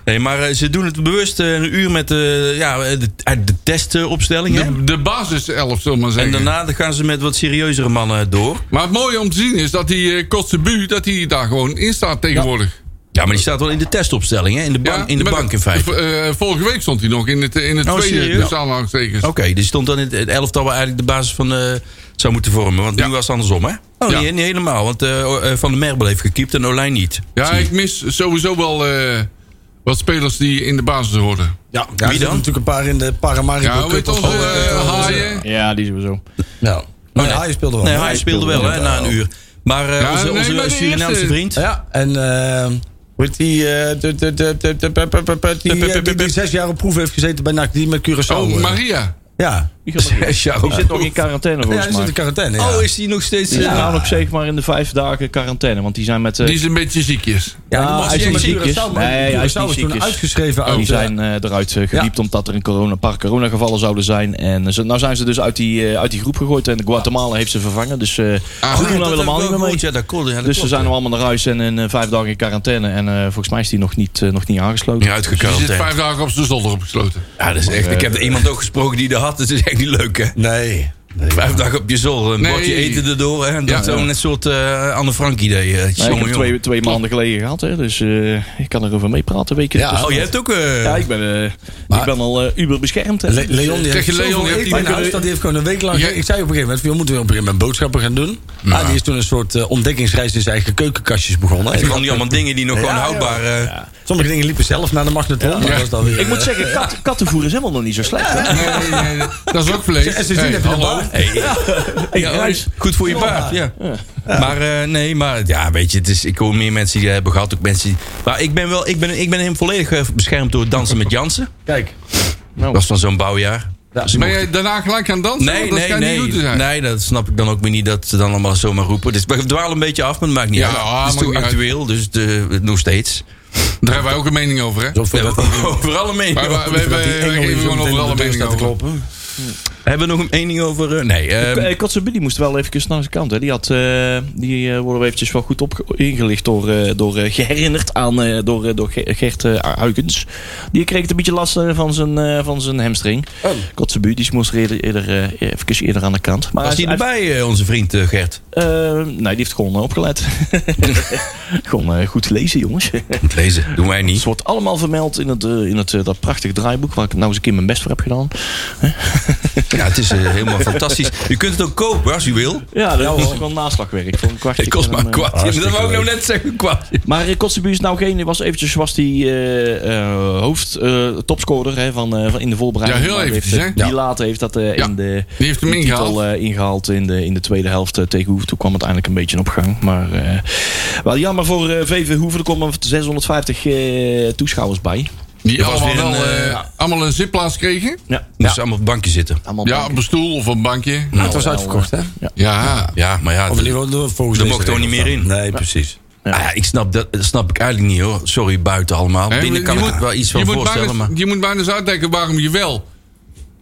Speaker 4: Nee, maar eh, ze doen het bewust eh, een uur met eh, ja, de, uit de testopstelling. hè?
Speaker 5: De, de basiself, zullen we maar
Speaker 4: En
Speaker 5: zeggen.
Speaker 4: daarna dan gaan ze met wat serieuzere mannen door.
Speaker 5: Maar het mooie om te zien is dat die eh, Kotzebu, dat hij daar gewoon in staat tegenwoordig.
Speaker 4: Ja, maar die staat wel in de testopstelling, hè? In de, ban-
Speaker 5: Ja,
Speaker 4: in, de
Speaker 5: maar
Speaker 4: bank in
Speaker 5: dat-
Speaker 4: feite.
Speaker 5: v- eh, vorige week stond hij nog in het, in het
Speaker 4: Oh,
Speaker 5: tweede,
Speaker 4: serieus? Oh,
Speaker 5: dus aanhalingstekens.
Speaker 4: Oké, die stond dan in het- het elftal waar eigenlijk de basis van eh, zou moeten vormen. Want
Speaker 5: Ja.
Speaker 4: nu was het andersom, hè? Oh,
Speaker 5: Ja.
Speaker 4: nee, niet helemaal. Want eh, o- eh, Van der Merbel heeft gekiept en Olijn niet.
Speaker 5: Ja, ik mis sowieso wel eh, wat spelers die in de basis horen.
Speaker 6: Ja, ja, er zitten
Speaker 4: dan?
Speaker 6: natuurlijk een paar in de Paramaribo
Speaker 5: Ja,
Speaker 6: Cup
Speaker 5: weet
Speaker 6: of
Speaker 5: onze
Speaker 6: zo.
Speaker 5: eh, haaien.
Speaker 7: Ja, die sowieso.
Speaker 6: Ja.
Speaker 4: Oh,
Speaker 6: Nee, hij speelde wel.
Speaker 4: Nee, hij speelde wel, hè, na een uur. Maar eh,
Speaker 5: Ja,
Speaker 4: onze,
Speaker 5: nee,
Speaker 4: onze
Speaker 5: maar de
Speaker 4: Surinaamse
Speaker 5: eerste-
Speaker 4: vriend...
Speaker 6: Ja, en eh hoe heet die, eh, de- de- de- de- de- pe- pe- pe- pe- die, eh, die die zes jaar op proef heeft gezeten bij NAC, die met Curaçao.
Speaker 5: Oh,
Speaker 6: eh,
Speaker 5: Maria.
Speaker 6: Ja.
Speaker 7: Die, gaat nog-
Speaker 4: Zes jaar
Speaker 7: die
Speaker 4: op
Speaker 7: zit nog in quarantaine
Speaker 6: Ja,
Speaker 7: volgens
Speaker 6: die zit in
Speaker 7: mij.
Speaker 6: quarantaine. Ja.
Speaker 4: Oh, is hij nog steeds...
Speaker 7: Die
Speaker 4: eh,
Speaker 7: zit nou nog zeg maar in de vijf dagen quarantaine. Want die zijn met... eh,
Speaker 5: Die is een beetje ziekjes.
Speaker 6: ja, die
Speaker 7: Ah,
Speaker 6: mocht
Speaker 7: hij is niet
Speaker 6: niet met
Speaker 7: ziek is.
Speaker 6: Curaçao, maar
Speaker 7: Nee, hij is
Speaker 6: Curaçao
Speaker 7: niet
Speaker 6: is toen
Speaker 7: ziek is.
Speaker 6: uitgeschreven
Speaker 7: die
Speaker 6: uit, eh,
Speaker 7: zijn eh, eruit eh, gediept omdat er een corona, een paar coronagevallen zouden zijn. En eh, ze- nou zijn ze dus uit die, eh, uit die groep gegooid. En Guatemala heeft ze vervangen. Dus eh
Speaker 5: Ah,
Speaker 7: Groenland
Speaker 5: nee,
Speaker 7: wil helemaal niet meer mee.
Speaker 4: Ja, dat klopt. Ja, dat
Speaker 7: Dus ze
Speaker 4: klopt,
Speaker 7: zijn
Speaker 4: ja.
Speaker 7: nu allemaal naar huis en in eh, vijf dagen in quarantaine. En eh, volgens mij is die nog niet, eh, nog niet aangesloten.
Speaker 4: Niet
Speaker 5: Die
Speaker 4: uitgekeld,
Speaker 5: zit
Speaker 4: hè.
Speaker 5: vijf dagen op zijn zolder opgesloten.
Speaker 4: Ja, dat is echt... Ik heb er iemand ook gesproken die dat had. Dat is echt niet leuk, hè?
Speaker 6: Nee.
Speaker 4: Vijf dagen op je zolder, een
Speaker 5: Nee.
Speaker 4: bordje eten erdoor. Hè? En dat
Speaker 5: Ja.
Speaker 4: zo'n net soort eh, Anne Frank idee. eh,
Speaker 7: Nee, ik
Speaker 4: jongen,
Speaker 7: heb
Speaker 4: jongen.
Speaker 7: twee, twee maanden geleden gehad, hè, dus eh, ik kan erover meepraten. weken
Speaker 6: Ja,
Speaker 7: ertussen.
Speaker 4: Oh, je hebt ook... eh,
Speaker 7: ja, ik ben, eh, ik ben al eh, uber beschermd. hè.
Speaker 6: Le- Leon die
Speaker 5: Zeg
Speaker 6: heeft
Speaker 5: Dus, eh, je, Leon,
Speaker 6: zoveel
Speaker 5: je hebt
Speaker 6: eten in
Speaker 5: die-
Speaker 6: huis dat die heeft gewoon een week lang.
Speaker 5: Ja.
Speaker 6: Ik zei op een gegeven moment: van, "Joh, moeten we op een gegeven moment boodschappen gaan doen. Ah, die is toen een soort eh, ontdekkingsreis in zijn eigen keukenkastjes begonnen.
Speaker 4: Het
Speaker 6: En
Speaker 4: zijn van die allemaal dingen die nog gewoon
Speaker 6: ja.
Speaker 4: houdbaar... eh,
Speaker 6: Sommige dingen liepen zelf naar de magnetron. maar dat is dan weer,
Speaker 7: Ik moet
Speaker 6: eh,
Speaker 7: zeggen, kat, kattenvoer is helemaal nog niet zo slecht. hè.
Speaker 5: Nee, nee, nee, dat is ook vlees.
Speaker 6: en sindsdien
Speaker 5: Hey,
Speaker 6: heb je een
Speaker 5: hallo.
Speaker 6: baan.
Speaker 4: Ja, oh, is goed voor je paard, ja. Maar eh, nee, maar ja, weet je, het is, ik hoor meer mensen die dat hebben gehad, ook mensen die, Maar ik ben wel, ik ben, ik ben hem volledig eh, beschermd door Dansen met Jansen.
Speaker 6: Kijk.
Speaker 4: Dat was dan zo'n bouwjaar. Dus ik
Speaker 5: Ben
Speaker 4: mocht-
Speaker 5: Nou. jij daarna gelijk gaan dansen?
Speaker 4: Nee,
Speaker 5: Want dat
Speaker 4: nee,
Speaker 5: schijnt
Speaker 4: nee.
Speaker 5: niet goed dus te zijn.
Speaker 4: Nee, dat snap ik dan ook weer niet dat ze dan allemaal zomaar roepen. Dus we dwalen een beetje af, maar dat maakt niet
Speaker 5: Ja,
Speaker 4: uit.
Speaker 5: ah,
Speaker 4: het is
Speaker 5: maakt
Speaker 4: toch
Speaker 5: niet uit.
Speaker 4: actueel, dus de, nog steeds.
Speaker 5: Daar hebben wij ook een mening over, hè?
Speaker 6: Zo
Speaker 4: We
Speaker 6: dat
Speaker 4: hebben overal een mening
Speaker 5: Maar wij-
Speaker 4: over.
Speaker 5: wij- wij- wij geven gewoon overal een mening
Speaker 6: staat te
Speaker 5: over.
Speaker 6: kloppen.
Speaker 4: Hebben we nog een mening over... eh, nee, ehm,
Speaker 7: Eh, Kotzebue, die moest wel even naar zijn kant. Hè. Die, had, eh, die eh, worden we eventjes wel goed op ingelicht door, eh, door eh, geherinnerd aan eh, door, eh, door Ge- Gert eh, Huygens. Die kreeg het een beetje last eh, van zijn, eh, van zijn hamstring. Oh. Kotzebue, die moest eerder, eerder, eh, even eerder aan de kant. Maar
Speaker 4: was hij
Speaker 7: hij-
Speaker 4: erbij, eh, onze vriend eh, Gert?
Speaker 7: Eh, nee, die heeft gewoon eh, opgelet. gewoon eh, goed lezen, jongens. Het
Speaker 4: Lezen, doen wij niet.
Speaker 7: wordt allemaal vermeld in, het, eh, in het, eh, dat prachtige draaiboek... waar ik nou eens een keer mijn best voor heb gedaan.
Speaker 4: Ja, het is eh, helemaal fantastisch. U kunt het ook kopen als u wil.
Speaker 7: Ja, dat is gewoon naslagwerk voor een kwartje.
Speaker 4: Het kost maar een
Speaker 7: En, eh,
Speaker 4: kwartje. Dat wou ik nou net zeggen, een kwartje.
Speaker 7: Maar eh, Kotzebue is nou geen... was eventjes was die eh, eh, hoofd eh, topscorer hè, van, eh, van in de voorbereiding.
Speaker 5: Ja, heel
Speaker 7: Maar heeft,
Speaker 5: eventjes,
Speaker 7: eh,
Speaker 5: hè?
Speaker 7: Die
Speaker 5: Ja.
Speaker 7: later heeft dat eh,
Speaker 5: Ja,
Speaker 7: in de...
Speaker 5: die heeft hem
Speaker 7: die titel,
Speaker 5: ingehaald.
Speaker 7: eh, ingehaald in de, in de tweede helft eh, tegen Hoeven. Toen kwam het eindelijk een beetje op gang. Maar eh, wel jammer voor eh, VV Hoeven. Er komen 650 eh, toeschouwers bij.
Speaker 5: Die
Speaker 4: was
Speaker 5: allemaal,
Speaker 4: weer
Speaker 5: wel,
Speaker 4: een,
Speaker 5: eh, allemaal een zitplaats kregen.
Speaker 7: Ja,
Speaker 4: Moest ze allemaal op het bankje zitten.
Speaker 7: allemaal
Speaker 5: Ja,
Speaker 7: bij.
Speaker 5: op een stoel of op een bankje.
Speaker 6: Nou, Het was uitverkocht, hè?
Speaker 5: Ja.
Speaker 4: Ja, maar ja,
Speaker 6: Of in ieder geval volgens
Speaker 4: Er
Speaker 6: deze
Speaker 4: mocht gewoon niet
Speaker 6: regels
Speaker 4: meer
Speaker 6: dan. Nee, precies.
Speaker 4: ah, ja, ik snap dat, dat snap ik eigenlijk niet hoor. Sorry, buiten allemaal.
Speaker 5: Hè,
Speaker 4: Binnen
Speaker 5: je
Speaker 4: kan ik
Speaker 5: moet-
Speaker 4: me wel iets van
Speaker 5: je moet
Speaker 4: voorstellen,
Speaker 5: bijna-
Speaker 4: maar...
Speaker 5: Je moet bijna eens uitdenken waarom je wel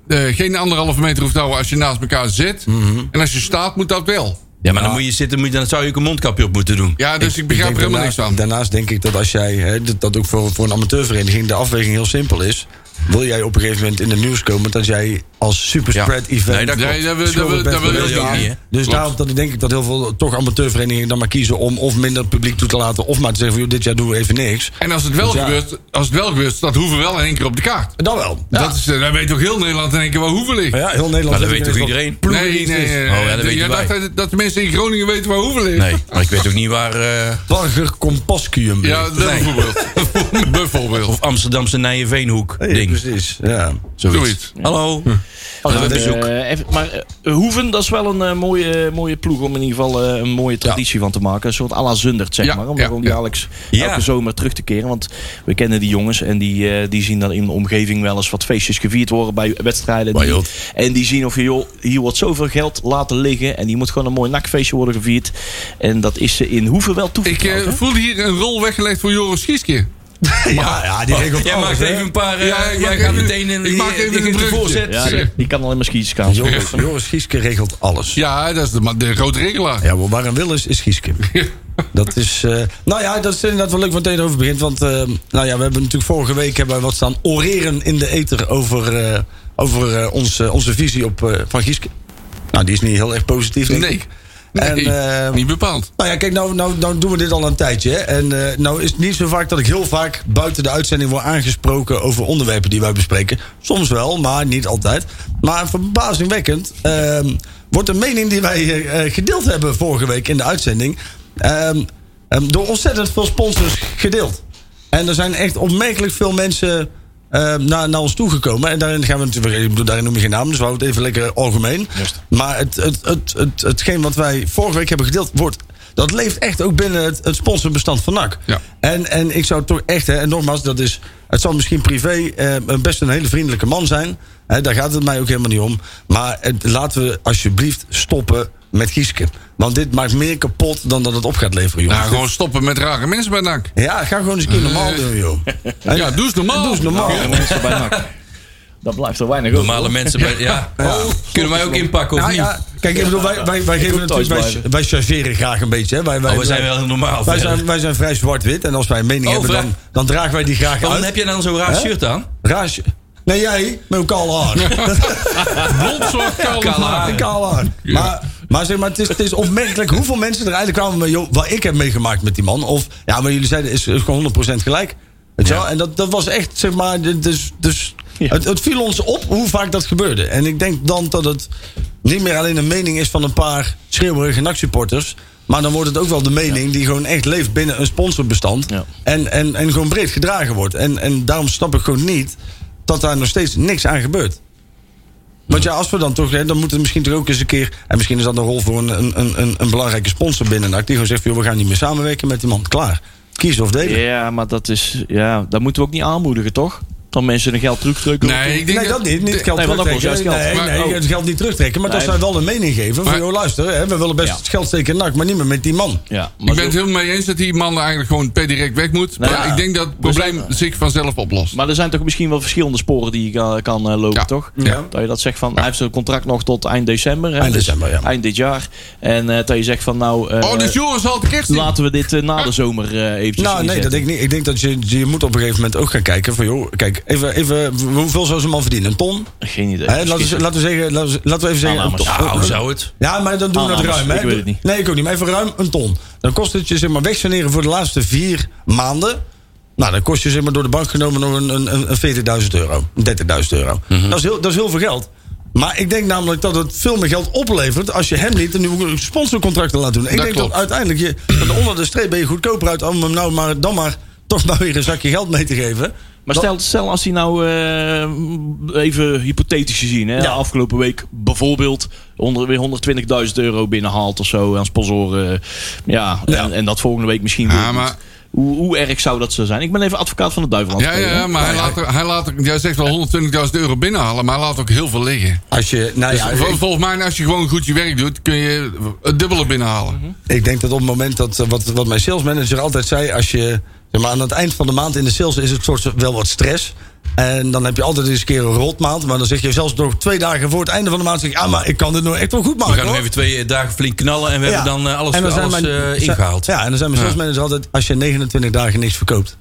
Speaker 5: Mhm. eh, geen anderhalve meter hoeft te houden als je naast elkaar zit. En als je staat, moet dat wel.
Speaker 4: Ja, maar dan moet je zitten, moet je, dan zou je ook een mondkapje op moeten doen.
Speaker 5: Ja, dus ik, begrijp er
Speaker 6: denk
Speaker 5: helemaal niks
Speaker 6: daarnaast-
Speaker 5: aan.
Speaker 6: Daarnaast denk ik dat als jij, hè, dat, dat ook voor, voor een amateurvereniging, de afweging heel simpel is. Wil jij op een gegeven moment in de nieuws komen dat jij als superspread event.
Speaker 4: Nee, dat
Speaker 5: Nee, dat wil-
Speaker 6: schuldig
Speaker 5: dat wil-
Speaker 6: bent
Speaker 5: dat wil je
Speaker 6: geweest?
Speaker 5: ook
Speaker 6: Ja.
Speaker 4: niet, hè?
Speaker 6: Dus
Speaker 5: Klopt.
Speaker 6: daarom dat ik denk ik dat heel veel eh, toch amateurverenigingen dan maar kiezen om of minder publiek toe te laten. of maar te zeggen van joh, dit jaar doen we even niks.
Speaker 5: En als het wel
Speaker 6: Ja.
Speaker 5: gebeurt, als het wel gebeurt, dat hoeven wel in één keer op de kaart.
Speaker 6: Dan wel.
Speaker 5: Dat is, eh, dan weet toch heel Nederland in één keer waar hoeven ligt.
Speaker 6: Maar ja, heel Nederland.
Speaker 4: Maar dat weet
Speaker 6: ik
Speaker 4: toch
Speaker 6: wel-
Speaker 4: iedereen?
Speaker 5: Nee, nee, nee.
Speaker 4: Oh, ja, dat weten
Speaker 5: Jij
Speaker 4: wij.
Speaker 5: dacht dat, dat de mensen in Groningen weten waar hoeven ligt.
Speaker 4: Nee, maar ik weet ook niet waar... eh,
Speaker 6: Burger Compascium.
Speaker 5: Ja, dat bijvoorbeeld. bijvoorbeeld.
Speaker 4: of Amsterdamse Nijenveenhoek
Speaker 6: Nee,
Speaker 4: ding.
Speaker 6: Precies. Oh, Ja.
Speaker 5: Zoiets.
Speaker 4: Hallo.
Speaker 7: Maar,
Speaker 4: Hallo, bezoek.
Speaker 7: eh, even- maar eh, Hoeven, dat is wel een eh, mooie, mooie ploeg om in ieder geval eh, een mooie traditie van te maken. Een soort à la Zundert, zeg
Speaker 5: Ja,
Speaker 7: maar. Om
Speaker 5: ja,
Speaker 7: gewoon
Speaker 5: ja.
Speaker 7: jaarlijks
Speaker 4: Ja.
Speaker 7: elke zomer terug te keren. Want we kennen die jongens en die, eh, die zien dan in de omgeving wel eens wat feestjes gevierd worden bij wedstrijden.
Speaker 4: Maar
Speaker 7: Die-
Speaker 4: joh.
Speaker 7: en die zien of je, joh, hier wordt zoveel geld laten liggen. En die moet gewoon een mooi nakfeestje worden gevierd. En dat is ze in Hoeven wel
Speaker 5: Ik
Speaker 7: toevertrouwd.
Speaker 5: eh,
Speaker 7: hè?
Speaker 5: voelde hier een rol weggelegd voor Joris Schieske.
Speaker 6: Ja, ja,
Speaker 5: Oh,
Speaker 6: die regelt
Speaker 4: Jij
Speaker 6: alles,
Speaker 4: maakt
Speaker 6: hè.
Speaker 4: even een paar... eh,
Speaker 5: Ja, ik
Speaker 4: jij
Speaker 5: maak
Speaker 4: gaat
Speaker 5: even-
Speaker 4: meteen in
Speaker 5: ik
Speaker 4: die-
Speaker 5: maak
Speaker 4: die
Speaker 5: even
Speaker 4: geeft
Speaker 5: een
Speaker 4: de
Speaker 5: bruggetje.
Speaker 4: voorzet.
Speaker 7: ja, die, die kan alleen maar skietjes gaan.
Speaker 6: Joris, Joris Gieske regelt alles.
Speaker 5: Ja, dat is de, man- de grote regelaar.
Speaker 6: Ja, maar waar een wil is, is Gieske. dat is, eh, nou ja, dat is inderdaad wel leuk wat het over begint. Want eh, nou ja, we hebben natuurlijk vorige week hebben wij wat staan oreren in de ether over, eh, over eh, onze, onze visie op, eh, van Gieske. Nou, die is niet heel erg positief, denk
Speaker 5: Nee.
Speaker 6: ik. En,
Speaker 5: Nee,
Speaker 6: eh,
Speaker 5: niet bepaald.
Speaker 6: Nou ja, kijk, nou, nou, nou doen we dit al een tijdje. Hè? En eh, nou is het niet zo vaak dat ik heel vaak buiten de uitzending word aangesproken over onderwerpen die wij bespreken. Soms wel, maar niet altijd. Maar verbazingwekkend ehm, wordt een mening die wij eh, eh, gedeeld hebben vorige week in de uitzending ehm, ehm, door ontzettend veel sponsors gedeeld. En er zijn echt opmerkelijk veel mensen eh, naar, naar ons toegekomen. En daarin gaan we natuurlijk, ik bedoel, daarin noem je geen naam, dus we houden het even lekker algemeen. Maar het, het, het, het, hetgeen wat wij vorige week hebben gedeeld, wordt, dat leeft echt ook binnen het, het sponsorbestand van NAC.
Speaker 5: Ja.
Speaker 6: En, en ik zou toch echt, hè, en nogmaals, dat is, het zal misschien privé eh, best een hele vriendelijke man zijn. Hè, daar gaat het mij ook helemaal niet om. Maar het, laten we alsjeblieft stoppen met Gieske. Want dit maakt meer kapot dan dat het op gaat leveren, jongens.
Speaker 5: Nou, gewoon stoppen met rare mensen bij NAC.
Speaker 6: Ja, ga gewoon eens een keer normaal doen, joh. En-
Speaker 5: Ja, doe eens normaal.
Speaker 6: Ah, Doe eens normaal.
Speaker 7: Mensen bij NAC. Dat blijft er weinig over.
Speaker 4: Normale mensen... bij- Ja. Oh, Kunnen wij ook inpakken of
Speaker 6: Nou
Speaker 4: niet?
Speaker 6: ja, kijk, ik bedoel, wij, wij, wij, geven
Speaker 7: wil thuis
Speaker 6: natuurlijk, wij,
Speaker 7: blijven.
Speaker 6: wij chargeren graag een beetje. Hè. Wij, wij,
Speaker 4: Oh, we zijn wel heel normaal.
Speaker 6: wij,
Speaker 4: verder.
Speaker 6: zijn, wij zijn vrij zwart-wit. En als wij een mening
Speaker 4: Oh,
Speaker 6: hebben,
Speaker 4: vrij-
Speaker 6: dan, dan dragen wij die graag
Speaker 4: Waarom
Speaker 6: uit.
Speaker 4: heb je dan zo'n raar
Speaker 6: Hè?
Speaker 4: shirt aan?
Speaker 6: Raasje. Nee, jij, met een kaal haar.
Speaker 5: Blond zorgt kalm.
Speaker 4: Kaal haar.
Speaker 6: Een kaal haar. Maar, maar zeg maar, het is, het is opmerkelijk hoeveel mensen er eigenlijk kwamen met... Joh, wat ik heb meegemaakt met die man. Of, ja, maar jullie zeiden, is, is gewoon 100% gelijk. Weet je wel? En dat, dat was echt, zeg maar, dit- dus... dus het, het viel ons op hoe vaak dat gebeurde. En ik denk dan dat het niet meer alleen een mening is van een paar schreeuwerige NAC-supporters... Maar dan wordt het ook wel de mening die gewoon echt leeft binnen een sponsorbestand.
Speaker 7: Ja.
Speaker 6: En, en, en gewoon breed gedragen wordt. En, en daarom snap ik gewoon niet dat daar nog steeds niks aan gebeurt. Want ja, als we dan toch, hè, dan moeten we misschien toch ook eens een keer. En misschien is dat een rol voor een, een- een, een, een belangrijke sponsor binnen NAC. Die gewoon zegt: van, joh, we gaan niet meer samenwerken met die man. Klaar. Kiezen of delen.
Speaker 7: Ja, maar dat is. Ja, dat moeten we ook niet aanmoedigen, toch? Dat mensen hun geld terugdrukken.
Speaker 5: Nee, ik denk
Speaker 6: Nee, dat niet. Niet het geld
Speaker 7: Nee, want dat
Speaker 6: terugtrekken.
Speaker 7: kost juist
Speaker 6: Nee,
Speaker 7: geld.
Speaker 6: nee,
Speaker 7: Maar-
Speaker 6: het geld niet terugtrekken. Maar
Speaker 7: Nee.
Speaker 6: dat zij wel een mening geven.
Speaker 5: Maar-
Speaker 6: van, joh, luister, hè, we willen best
Speaker 7: Ja.
Speaker 6: het geld steken in NAC, maar niet meer met die man.
Speaker 7: Ja, maar
Speaker 5: Ik ben
Speaker 7: zo-
Speaker 5: het helemaal mee eens dat die man eigenlijk gewoon per direct weg moet. Maar
Speaker 7: ja.
Speaker 5: ik denk dat het probleem zich vanzelf oplost.
Speaker 7: Maar er zijn toch misschien wel verschillende sporen die je ka- kan eh, lopen,
Speaker 5: Ja.
Speaker 7: toch?
Speaker 5: Ja.
Speaker 7: Dat je dat zegt van, hij heeft zijn contract nog tot eind december. Hè,
Speaker 6: Eind
Speaker 7: dus
Speaker 6: december, ja.
Speaker 7: Eind dit jaar. En eh, dat je zegt van, nou, eh,
Speaker 5: oh, dus Joris al de kerst niet.
Speaker 7: laten we dit eh, na de zomer eh eventjes
Speaker 6: Nou, nee, dat denk ik niet. Ik denk dat je, je moet op een gegeven moment ook gaan kijken. Van joh, kijk, even, even hoeveel zou zo'n man verdienen? Een ton?
Speaker 7: ik... Geen idee.
Speaker 6: Hè, laten, we, laten we zeggen, laten we, laten we even zeggen.
Speaker 7: Aannames.
Speaker 6: een ton.
Speaker 4: Ja, hoe Nou, zou het?
Speaker 6: Ja, maar dan doen we dat
Speaker 7: Aannames,
Speaker 6: ruim. Hè?
Speaker 7: Ah, ik weet het niet.
Speaker 6: Nee, ik ook niet. Maar even ruim een ton. Dan kost het je zeg maar wegsaneren voor de laatste vier maanden. Nou, dan kost je zeg maar door de bank genomen nog een, een, een- een 40.000 euro. Een 30.000 euro.
Speaker 7: Mhm.
Speaker 6: dat, is heel, dat is heel veel geld. Maar ik denk namelijk dat het veel meer geld oplevert als je hem niet een nieuw sponsorcontract laat doen. Ik
Speaker 5: Dat
Speaker 6: denk
Speaker 5: klopt.
Speaker 6: dat uiteindelijk je dat onder de streep ben je goedkoper uit om hem nou maar dan maar toch maar weer een zakje geld mee te geven.
Speaker 7: Maar
Speaker 6: Dat-
Speaker 7: stel, stel als hij nou eh, even hypothetisch gezien, hè,
Speaker 6: Ja.
Speaker 7: afgelopen week bijvoorbeeld onder, weer 120.000 euro binnenhaalt of zo aan sponsoren. Ja,
Speaker 6: Ja.
Speaker 7: En, en dat volgende week misschien weer.
Speaker 5: Ja,
Speaker 7: doet.
Speaker 5: maar-
Speaker 7: Hoe, hoe erg zou dat zo zijn? Ik ben even advocaat van de duivel aan het
Speaker 5: Ja, ja,
Speaker 7: spelen,
Speaker 5: ja,
Speaker 7: hè.
Speaker 5: maar hij laat, er- hij laat, er- jij zegt wel 120.000 euro binnenhalen, maar hij laat ook heel veel liggen. Dus
Speaker 6: Als je, nou
Speaker 7: Dus
Speaker 6: ja,
Speaker 5: Vol- Volgens mij, als je gewoon goed je werk doet, kun je het dubbele binnenhalen.
Speaker 6: Ik denk dat op het moment dat, eh, wat, wat mijn salesmanager altijd zei, als je, zeg Ja, maar aan het eind van de maand in de sales is het soort wel wat stress. En dan heb je altijd eens een keer een rotmaand. Maar dan zeg je zelfs nog twee dagen voor het einde van de maand... Zeg je, ah, maar ik kan dit nou echt wel goed
Speaker 4: We
Speaker 6: maken,
Speaker 4: gaan nog
Speaker 6: hoor.
Speaker 4: even twee eh, dagen flink knallen en we hebben dan eh, alles,
Speaker 6: En dan zijn
Speaker 4: alles
Speaker 6: mijn-
Speaker 4: eh, ingehaald.
Speaker 6: Ja, en dan zijn mijn salesmanagers altijd... als je 29 dagen niks verkoopt...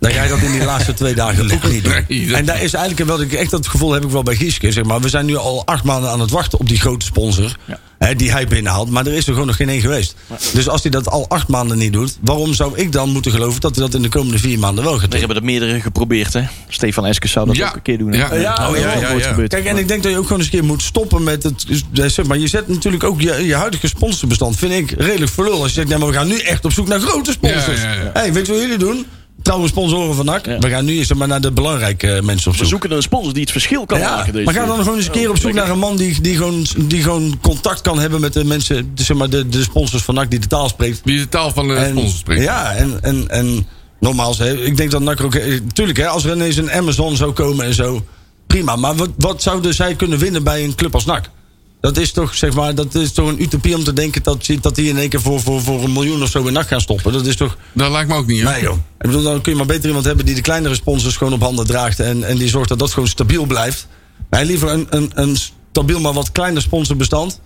Speaker 6: dan ga je dat in die laatste twee dagen ook niet doen.
Speaker 5: Nee, dat-
Speaker 6: En daar is eigenlijk wel... ik- echt dat gevoel heb ik wel bij Gieske. Zeg maar. We zijn nu al acht maanden aan het wachten op die grote sponsor... Hè, die hij binnenhaalt. Maar er is er gewoon nog geen één geweest. Dus als hij dat al acht maanden niet doet... waarom zou ik dan moeten geloven... dat hij dat in de komende vier maanden wel gaat
Speaker 7: Er
Speaker 6: doen?
Speaker 7: hebben er meerdere geprobeerd, hè? Stefan Eskes zou dat
Speaker 5: Ja.
Speaker 7: ook een keer doen. hè?
Speaker 5: Ja.
Speaker 7: Eh,
Speaker 5: Ja,
Speaker 7: dat is
Speaker 4: ja,
Speaker 7: ook
Speaker 4: ja,
Speaker 7: nooit
Speaker 4: ja.
Speaker 7: gebeurd.
Speaker 6: Kijk, en ik denk dat je ook gewoon eens een keer moet stoppen met het. eh, Zeg maar, je zet natuurlijk ook je, je huidige sponsorbestand, vind ik redelijk voor lul. Als je zegt, nee, maar we gaan nu echt op zoek naar grote sponsors.
Speaker 5: Ja, ja, ja.
Speaker 6: hey, weet je wat jullie doen? Trouwe sponsoren van NAC.
Speaker 7: Ja.
Speaker 6: We gaan nu eens maar naar de belangrijke eh, mensen op
Speaker 7: We
Speaker 6: zoek.
Speaker 7: zoeken een sponsor die het verschil kan
Speaker 6: ja,
Speaker 7: maken. Deze Oh,
Speaker 6: maar ga dan gewoon eens een keer op zoek naar een man die, die, gewoon, die gewoon contact kan hebben met de mensen, de, zeg maar, de, de sponsors van NAC die de taal spreekt.
Speaker 5: Wie de taal van de
Speaker 6: En-
Speaker 5: sponsor spreekt.
Speaker 6: Ja, en, en, en nogmaals, hè, ik denk dat NAC er ook... eh, Tuurlijk, hè, als er ineens een Amazon zou komen en zo, prima. Maar wat, wat zouden zij kunnen winnen bij een club als NAC? Dat is toch, zeg maar, dat is toch een utopie om te denken dat, ze- dat die in één keer voor, voor, voor een miljoen of zo in NAC gaan stoppen. Dat is toch...
Speaker 5: Dat lijkt me ook niet. hè?
Speaker 6: Nee joh. Ik bedoel, dan kun je maar beter iemand hebben die de kleinere sponsors gewoon op handen draagt. En, en die zorgt dat dat gewoon stabiel blijft. Nee, liever een, een, een stabiel maar wat kleiner sponsorbestand.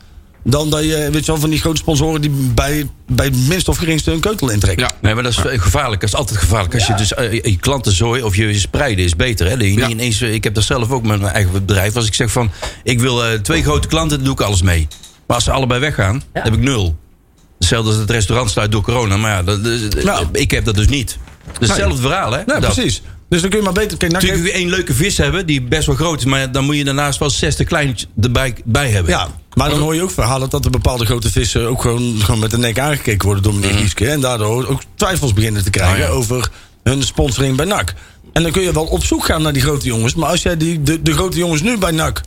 Speaker 6: Dan dat je, weet je wel, van die grote sponsoren die bij, bij het minst of geringste hun keutel intrekken.
Speaker 5: Ja.
Speaker 4: Nee, maar dat is eh, gevaarlijk. Dat is altijd gevaarlijk. Als je dus eh, je klantenzooi of je spreiden is beter. Hè? Dat je niet
Speaker 5: Ja.
Speaker 4: ineens, eh, ik heb dat zelf ook met mijn eigen bedrijf. Als ik zeg van, ik wil eh, twee grote klanten, dan doe ik alles mee. Maar als ze allebei weggaan, dan heb ik nul. Hetzelfde als het restaurant sluit door corona. Maar ja, dat, dat- dat-
Speaker 6: Nou.
Speaker 4: ik heb dat dus niet. Dat is hetzelfde verhaal, hè?
Speaker 6: Nee,
Speaker 4: Dat.
Speaker 6: precies. Dus dan kun je maar beter... Kijk, nou,
Speaker 4: Natuurlijk kun je één leuke vis hebben, die best wel groot is. Maar dan moet je daarnaast wel 60 kleintjes erbij bij hebben.
Speaker 6: ja, maar dan hoor je ook verhalen dat er bepaalde grote vissen ook gewoon, gewoon met de nek aangekeken worden door meneer Gieske. En daardoor ook twijfels beginnen te krijgen
Speaker 4: Ah, Mhm. ja.
Speaker 6: over hun sponsoring bij NAC. En dan kun je wel op zoek gaan naar die grote jongens. Maar als jij die, de, de grote jongens nu bij NAC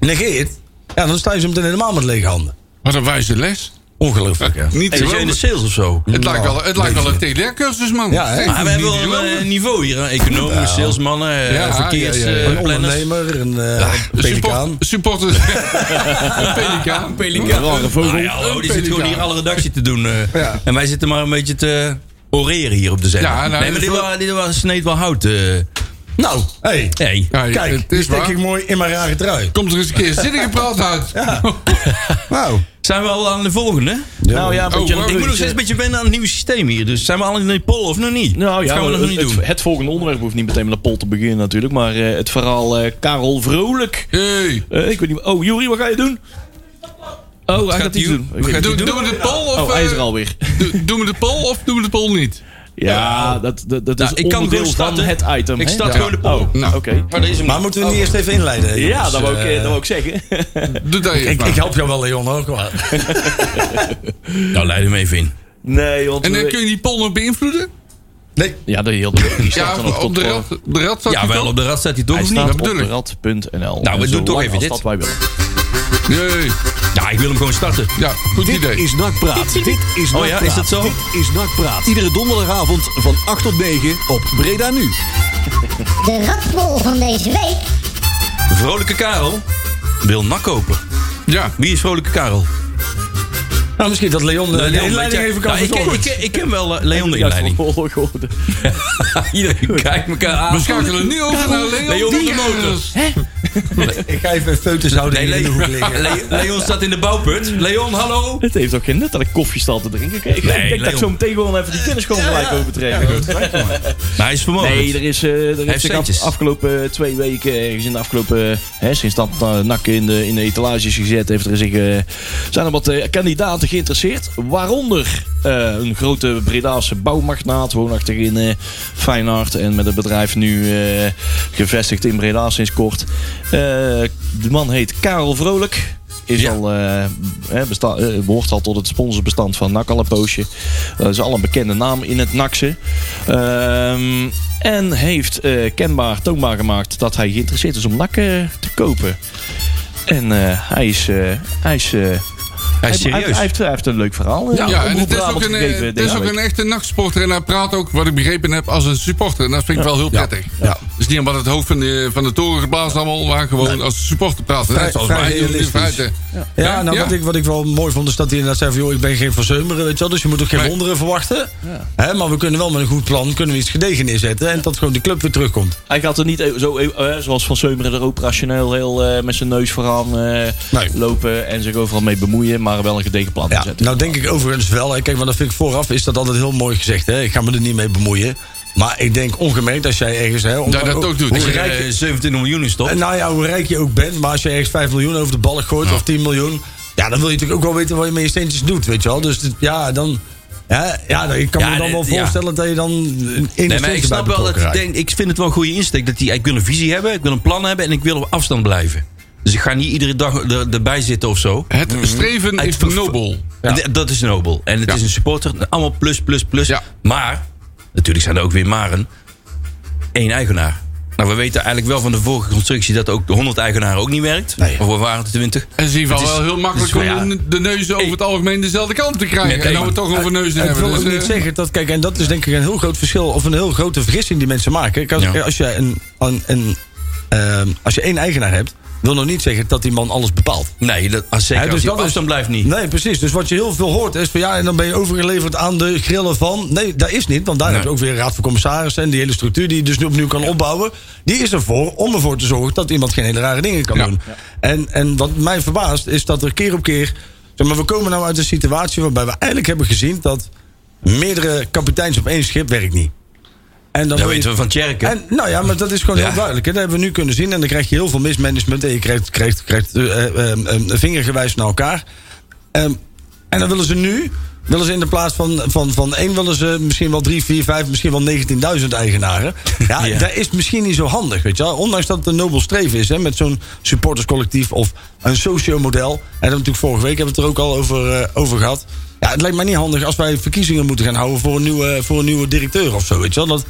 Speaker 6: negeert, ja, dan sta je ze meteen helemaal met lege handen.
Speaker 5: Wat een wijze les.
Speaker 6: Ongelooflijk, hè?
Speaker 5: Niet
Speaker 4: En
Speaker 5: te
Speaker 4: zit jij in de
Speaker 5: geloven.
Speaker 4: sales of zo?
Speaker 5: Het lijkt wel, het lijkt wel een TDR-cursus, man.
Speaker 6: Ja, hè?
Speaker 5: Zeg,
Speaker 4: Maar we Ah,
Speaker 5: niet
Speaker 4: hebben
Speaker 5: te
Speaker 4: wel
Speaker 5: geloven.
Speaker 4: een eh, niveau hier. hè. Economen, salesmannen, eh,
Speaker 5: Ja,
Speaker 4: verkeers,
Speaker 5: ja, ja, ja.
Speaker 4: eh,
Speaker 6: Een
Speaker 4: planners.
Speaker 6: ondernemer, een eh,
Speaker 5: Een
Speaker 6: pelikaan.
Speaker 5: support- supporter. een pelikaan. Een pelikaan.
Speaker 7: Rare vogel.
Speaker 4: Nou ja, hallo, die zit gewoon hier alle redactie te doen. eh.
Speaker 6: Ja.
Speaker 4: En wij zitten maar een beetje te oreren hier op de zender.
Speaker 5: Ja, nou,
Speaker 4: nee, maar
Speaker 5: dat
Speaker 4: dit,
Speaker 5: is wel-
Speaker 4: wa- dit wa- sneed wel hout. eh.
Speaker 6: Nou, hey,
Speaker 4: nee.
Speaker 5: Ja,
Speaker 6: kijk,
Speaker 5: het
Speaker 6: die
Speaker 5: is
Speaker 6: stek
Speaker 5: waar.
Speaker 6: ik mooi in mijn rare trui.
Speaker 5: Komt er eens een keer zinnige praat uit.
Speaker 6: Nou,
Speaker 4: Zijn we al aan de volgende?
Speaker 7: Nou ja,
Speaker 5: Oh,
Speaker 7: want je-
Speaker 5: wow.
Speaker 7: ik
Speaker 4: Ik moet nog steeds een beetje wennen aan het nieuwe systeem hier. Dus zijn we al in de poll of nog niet?
Speaker 7: Nou
Speaker 4: dat
Speaker 7: ja,
Speaker 4: gaan we nog
Speaker 7: het,
Speaker 4: niet
Speaker 7: het-
Speaker 4: doen.
Speaker 7: het volgende onderwerp hoeft niet meteen met de pol te beginnen natuurlijk. Maar eh, het verhaal eh, Karel Vrolijk.
Speaker 5: Hey.
Speaker 7: Eh, ik weet niet. Oh, Juri, wat ga je doen? Oh, hij
Speaker 4: gaat
Speaker 7: gaat iets
Speaker 4: hij-
Speaker 7: doen.
Speaker 4: wat
Speaker 7: Ik
Speaker 4: gaat
Speaker 7: weet
Speaker 5: Doe-
Speaker 7: niet.
Speaker 4: doen?
Speaker 5: Doen we de pol of...
Speaker 7: Oh, hij is er
Speaker 5: eh,
Speaker 7: alweer.
Speaker 5: do- Doen we de pol of doen we de pol niet?
Speaker 7: Ja, dat, dat, dat
Speaker 4: Nou,
Speaker 7: is
Speaker 4: ik kan
Speaker 7: onderdeel
Speaker 4: gewoon
Speaker 7: van
Speaker 4: starten.
Speaker 7: het item.
Speaker 4: Ik
Speaker 7: hè?
Speaker 4: start
Speaker 7: Ja.
Speaker 4: gewoon de Dus, poll.
Speaker 7: Oh,
Speaker 5: Nou.
Speaker 7: oké.
Speaker 4: Maar dat is hem
Speaker 6: maar
Speaker 4: niet.
Speaker 6: moeten we niet eerst even inleiden?
Speaker 7: Ja,
Speaker 6: jongens?
Speaker 7: dat wou ik, eh,
Speaker 6: Eh,
Speaker 7: dat wou ik zeggen.
Speaker 5: Doe dat even
Speaker 6: Ik,
Speaker 5: maar.
Speaker 6: ik help jou wel, Leon, hoor. Kom maar.
Speaker 4: Nou, leid hem even in.
Speaker 7: Nee, want...
Speaker 5: En
Speaker 4: eh,
Speaker 5: dan
Speaker 7: we-
Speaker 5: kun je die pol nog beïnvloeden?
Speaker 6: Nee.
Speaker 7: Ja, de heel die staat
Speaker 5: Ja,
Speaker 7: dan ook
Speaker 5: op
Speaker 7: tot...
Speaker 5: de
Speaker 7: eh,
Speaker 5: rat, op de rat staat
Speaker 4: Ja,
Speaker 5: die
Speaker 4: wel
Speaker 5: pol.
Speaker 4: op de rad staat hij toch
Speaker 7: Hij
Speaker 4: of niet?
Speaker 7: staat op
Speaker 5: bedoel
Speaker 7: de
Speaker 5: ik.
Speaker 7: rad.nl.
Speaker 4: Nou, we
Speaker 7: En
Speaker 4: doen toch
Speaker 7: zolang
Speaker 4: even
Speaker 7: als
Speaker 4: dit.
Speaker 7: dat wij willen.
Speaker 5: Nee.
Speaker 4: Ja, ik wil hem gewoon starten.
Speaker 5: Ja, goed
Speaker 3: Dit
Speaker 5: idee.
Speaker 3: is NAC Praat. Dit is NAC
Speaker 4: Oh ja,
Speaker 3: Praat.
Speaker 4: is dat zo?
Speaker 3: Dit is NAC Praat. Iedere donderdagavond van 8 tot 9 op Breda Nu.
Speaker 2: De ratpol van deze week
Speaker 4: Vrolijke Karel wil nak kopen.
Speaker 5: Ja.
Speaker 4: Wie is Vrolijke Karel?
Speaker 6: Nou, misschien dat Leon, eh,
Speaker 4: Leon,
Speaker 6: de
Speaker 4: weet
Speaker 6: inleiding
Speaker 4: jij-
Speaker 6: even kan
Speaker 4: Nou, ik, ken-
Speaker 6: verzorgen.
Speaker 4: ik, ken- ik ken wel eh, Leon de
Speaker 7: Ja, Oh,
Speaker 4: inleiding.
Speaker 7: voor Pol geworden.
Speaker 4: Iedereen kijkt elkaar aan.
Speaker 5: We schakelen nu over naar Leon,
Speaker 4: Leon
Speaker 5: die
Speaker 4: van de Motor.
Speaker 5: Motors.
Speaker 6: Ik ga even foto's houden
Speaker 4: Nee,
Speaker 6: in de hoek
Speaker 4: Leon,
Speaker 6: liggen.
Speaker 4: Le- Leon staat in de bouwput. Leon, hallo.
Speaker 7: Het heeft ook geen nut dat ik koffie sta te drinken. Kijk,
Speaker 4: Nee,
Speaker 7: ik denk dat ik
Speaker 4: Leon.
Speaker 7: zo meteen gewoon even die kennis gewoon gelijk overtreden.
Speaker 4: Maar hij is vermogen.
Speaker 7: Nee, er is, eh, er
Speaker 4: heeft
Speaker 7: is de
Speaker 4: centjes.
Speaker 7: afgelopen eh, twee weken, ergens in de afgelopen, hè, sinds dat eh, NAC in de, in de etalage is gezet, heeft er zich, eh, zijn er wat eh, kandidaten geïnteresseerd. Waaronder eh, een grote Bredaanse bouwmagnaat, woonachtig in eh Feyenoord en met het bedrijf nu eh, gevestigd in Breda sinds kort. Eh, de man heet Karel Vrolijk. Is
Speaker 4: Ja.
Speaker 7: al, eh, hè, besta- eh, behoort al tot het sponsorbestand van NAC al een poosje. Eh, Dat is al een bekende naam in het NACse. Ehm, en heeft eh, kenbaar, toonbaar gemaakt dat hij geïnteresseerd is om NAC eh, te kopen. En eh, hij is, eh, hij is eh,
Speaker 4: Hij is
Speaker 7: Hij,
Speaker 4: serieus.
Speaker 7: hij heeft, hij heeft een leuk verhaal.
Speaker 5: Ja, en het is ook een, eh, het is ook een echte nachtsporter. En hij praat ook, wat ik begrepen heb, als een supporter. En dat vind ik wel heel prettig.
Speaker 6: Ja.
Speaker 5: Dus niet omdat het hoofd van de, van de toren geblazen allemaal, maar gewoon als supporter praat. Net zoals
Speaker 6: vrij
Speaker 5: wij hier in
Speaker 6: realistisch.
Speaker 5: feite.
Speaker 6: Ja, nou,
Speaker 5: Ja.
Speaker 6: Wat, ik, wat ik wel mooi vond is dat hij inderdaad zei van... joh, ik ben geen verzeumeren, weet je wel. Dus je moet ook geen
Speaker 5: Nee.
Speaker 6: wonderen verwachten. Hè, maar we kunnen wel met een goed plan kunnen we iets gedegen neerzetten. En dat gewoon de club weer terugkomt.
Speaker 7: Hij gaat er niet eh, zo, eh, eh, zoals Van Seumeren er ook rationeel heel eh, met zijn neus vooraan eh,
Speaker 6: Nee.
Speaker 7: lopen en zich overal mee bemoeien, maar wel een gedegen plan
Speaker 6: Ja,
Speaker 7: zetten.
Speaker 6: nou denk ik overigens wel. Hè, kijk, want dat vind ik vooraf is dat altijd heel mooi gezegd. Hè. Ik ga me er niet mee bemoeien. Maar ik denk ongemerkt als jij ergens... Hè, om-
Speaker 5: Dat je dat ook doet.
Speaker 6: hoe
Speaker 4: Als je
Speaker 6: rijk-
Speaker 4: eh, 17 miljoen is toch?
Speaker 6: Eh, Nou ja, hoe rijk je ook bent, maar als je ergens 5 miljoen over de ballen gooit of 10 miljoen, ja, dan wil je natuurlijk ook wel weten wat je met je steentjes doet, weet je wel. Dus dit- ja, dan. Ja, ja, dan- ik kan
Speaker 4: Ja,
Speaker 6: me dan wel
Speaker 4: dit- ja.
Speaker 6: voorstellen dat je dan een in
Speaker 4: Nee, maar ik snap wel dat ik denk, ik vind het wel een goede insteek. Dat die, ik wil een visie hebben, ik wil een plan hebben en ik wil op afstand blijven. Dus ik ga niet iedere dag er, erbij zitten of zo.
Speaker 5: Het
Speaker 6: Mhm.
Speaker 5: streven is
Speaker 4: ver-
Speaker 5: nobel.
Speaker 4: D- Dat is nobel. En het
Speaker 5: Ja.
Speaker 4: is een supporter. Allemaal plus, plus, plus.
Speaker 5: Ja.
Speaker 4: Maar, natuurlijk zijn er ook weer maren. Eén eigenaar. Nou, we weten eigenlijk wel van de vorige constructie dat ook de 100 eigenaren ook niet werkt.
Speaker 6: Nee.
Speaker 4: Of we waren het 20.
Speaker 5: En ze
Speaker 4: Het
Speaker 5: is
Speaker 4: is-
Speaker 5: wel heel makkelijk
Speaker 4: het is-
Speaker 5: om
Speaker 4: ja.
Speaker 5: de neuzen over het algemeen dezelfde kant te krijgen.
Speaker 4: Nee,
Speaker 5: en dan we
Speaker 4: maar-
Speaker 5: het toch over neuzen
Speaker 6: Ik
Speaker 5: hebben.
Speaker 6: wil ook
Speaker 5: dus,
Speaker 6: niet
Speaker 5: eh,
Speaker 6: zeggen dat, kijk, en dat is denk ik een heel groot verschil of een heel grote vergissing die mensen maken. Kijk, als,
Speaker 4: Ja.
Speaker 6: kijk, als, jij een, een, een, ehm, als je één eigenaar hebt, wil nog niet zeggen dat die man alles bepaalt.
Speaker 4: Nee, dat, als zeker
Speaker 6: Ja, dus
Speaker 4: als die
Speaker 6: dat
Speaker 4: op
Speaker 6: is-
Speaker 4: afstand blijft niet.
Speaker 6: Nee, precies. Dus wat je heel veel hoort is van ja, en dan ben je overgeleverd aan de grillen van. Nee, dat is niet, want daar heb je ook weer een raad van commissarissen en die hele structuur die je dus nu opnieuw kan opbouwen. Die is ervoor om ervoor te zorgen dat iemand geen hele rare dingen kan
Speaker 5: Ja.
Speaker 6: doen. En, en wat mij verbaast is dat er keer op keer. Zeg maar, we komen nou uit een situatie waarbij we eigenlijk hebben gezien dat meerdere kapiteins op één schip werkt niet. En dan
Speaker 4: Dat
Speaker 6: wil je-
Speaker 4: weten we van Tjerken.
Speaker 6: en, nou ja, maar dat is gewoon
Speaker 4: Ja.
Speaker 6: heel duidelijk. Hè? Dat hebben we nu kunnen zien. En dan krijg je heel veel mismanagement. En je krijgt, krijgt, krijgt eh, eh, eh, eh, vingergewijs naar elkaar. Ehm, en dan willen ze nu... Willen ze in de plaats van, van, van één... willen ze misschien wel drie, vier, vijf... misschien wel 19.000 eigenaren. Ja,
Speaker 4: Ja.
Speaker 6: dat is misschien niet zo handig, weet je wel. Ondanks dat het een nobel streven is... Hè, met zo'n supporterscollectief of een socio-model. En dat hebben we natuurlijk vorige week hebben we het er ook al over, eh, over gehad. Ja, het lijkt mij niet handig als wij verkiezingen moeten gaan houden... voor een nieuwe, voor een nieuwe directeur of zo, weet je wel. Dat,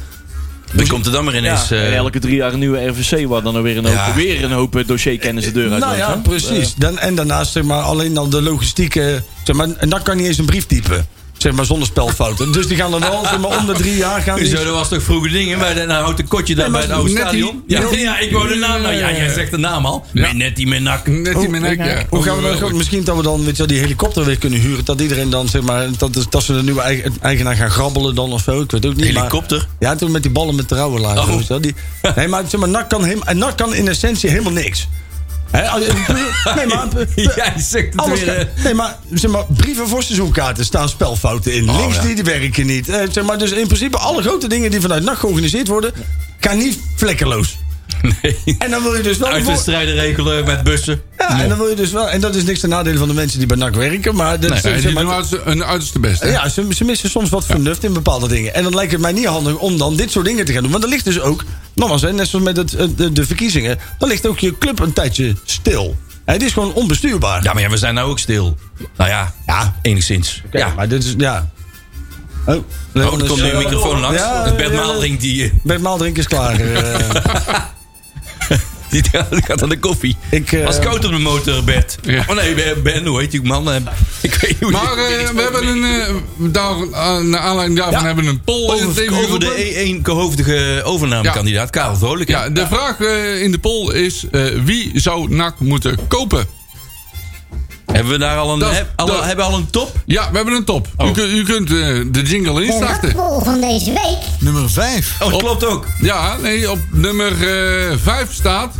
Speaker 4: Dan komt er dan maar
Speaker 7: Ja,
Speaker 4: ineens... eh,
Speaker 7: en elke drie jaar een nieuwe RVC, waar dan weer een hoop,
Speaker 4: Ja.
Speaker 7: weer een hoop eh, dossierkennis de deur uit
Speaker 6: Nou
Speaker 7: loopt,
Speaker 6: ja,
Speaker 7: hè?
Speaker 6: precies. Dan, en daarnaast zeg maar, alleen dan de logistieke... Zeg maar, en dan kan niet eens een brief typen. Zeg maar zonder spelfouten. Dus die gaan dan wel zeg maar, om de drie jaar gaan... die-
Speaker 4: Zo, dat was toch vroeger dingen, maar dan houdt een kotje daar
Speaker 6: Nee,
Speaker 4: bij
Speaker 6: maar
Speaker 4: het oude
Speaker 5: net die-
Speaker 4: stadion. ja,
Speaker 5: net-
Speaker 4: ja, ik wou de naam. Nou, ja, jij zegt de naam al.
Speaker 5: Ja.
Speaker 4: Met net die met nak.
Speaker 5: Net die mijn nek, ja.
Speaker 6: Hoe gaan we dan, gewoon- misschien dat we dan weet je, wel, die helikopter weer kunnen huren. Dat iedereen dan, zeg maar, dat, dat ze de nieuwe eigen- eigenaar gaan grabbelen dan of zo. Ik weet ook niet. maar-
Speaker 4: Helikopter?
Speaker 6: ja, toen met die ballen met trouwen laten.
Speaker 4: Oh.
Speaker 6: weet je wel, die- Nee, maar zeg maar, NAC kan, helemaal- en NAC kan in essentie helemaal niks. Hè, als je- nee, maar...
Speaker 4: Jij zegt het
Speaker 6: Alles
Speaker 4: weer. eh.
Speaker 6: kan- nee, maar, zeg maar brieven voor seizoenkaarten staan spelfouten in. Links die, die werken niet. Eh, zeg maar, dus in principe alle grote dingen die vanuit NAC georganiseerd worden... gaan niet vlekkeloos.
Speaker 4: eh.
Speaker 6: En dan wil je dus wel... een voor-
Speaker 4: Uitwedstrijden regelen met bussen.
Speaker 6: ja, en dan wil je dus wel... En dat is niks ten nadele van de mensen die bij NAC werken. Maar, dat,
Speaker 5: Ja,
Speaker 6: zeg
Speaker 5: die
Speaker 6: maar-
Speaker 5: doen uiterste- een uiterste best. hè?
Speaker 6: ja, ze, ze missen soms wat vernuft in bepaalde dingen. En dan lijkt het mij niet handig om dan dit soort dingen te gaan doen. Want er ligt dus ook, nogmaals, hè, net zoals met het, eh, de, de verkiezingen... dan ligt ook je club een tijdje stil. Het is gewoon onbestuurbaar.
Speaker 4: Ja, maar ja, we zijn nou ook stil. Nou ja,
Speaker 6: Ja.
Speaker 4: enigszins.
Speaker 6: Kijk,
Speaker 4: ja.
Speaker 6: maar dit is, ja. Oh,
Speaker 4: Oh, er komt nu een microfoon langs.
Speaker 6: eh, Ja,
Speaker 4: Het Bert
Speaker 6: ja, ja.
Speaker 4: Maaldrink die, eh,
Speaker 6: Bert Maaldrink is klaar. eh.
Speaker 4: die gaat aan de koffie.
Speaker 6: Ik, eh,
Speaker 4: Was koud op de motor, Bert.
Speaker 5: Ja.
Speaker 4: Oh nee, Ben- Ben, hoe heet die man? Eh, Ik weet niet hoe
Speaker 5: Maar
Speaker 4: die-
Speaker 5: eh, we hebben een, eh, daar, aan- naar aanleiding daarvan
Speaker 6: Ja.
Speaker 5: hebben we een poll in het
Speaker 4: over,
Speaker 5: leven
Speaker 4: over
Speaker 5: geroepen.
Speaker 4: de E1-gehoofdige overnamekandidaat, Karel Vrolijk. hè?
Speaker 5: Ja, de vraag eh, in de poll is: eh, wie zou NAC moeten kopen?
Speaker 4: Hebben we daar al een,
Speaker 5: Dat-
Speaker 4: heb- al,
Speaker 5: dat-
Speaker 4: hebben we al een top?
Speaker 5: Ja, we hebben een top. U, kun- u kunt eh, de jingle
Speaker 2: De
Speaker 5: instarten.
Speaker 2: ratbol van deze week.
Speaker 9: Nummer 5.
Speaker 4: Oh, dat klopt ook.
Speaker 5: Ja, nee, op nummer 5 staat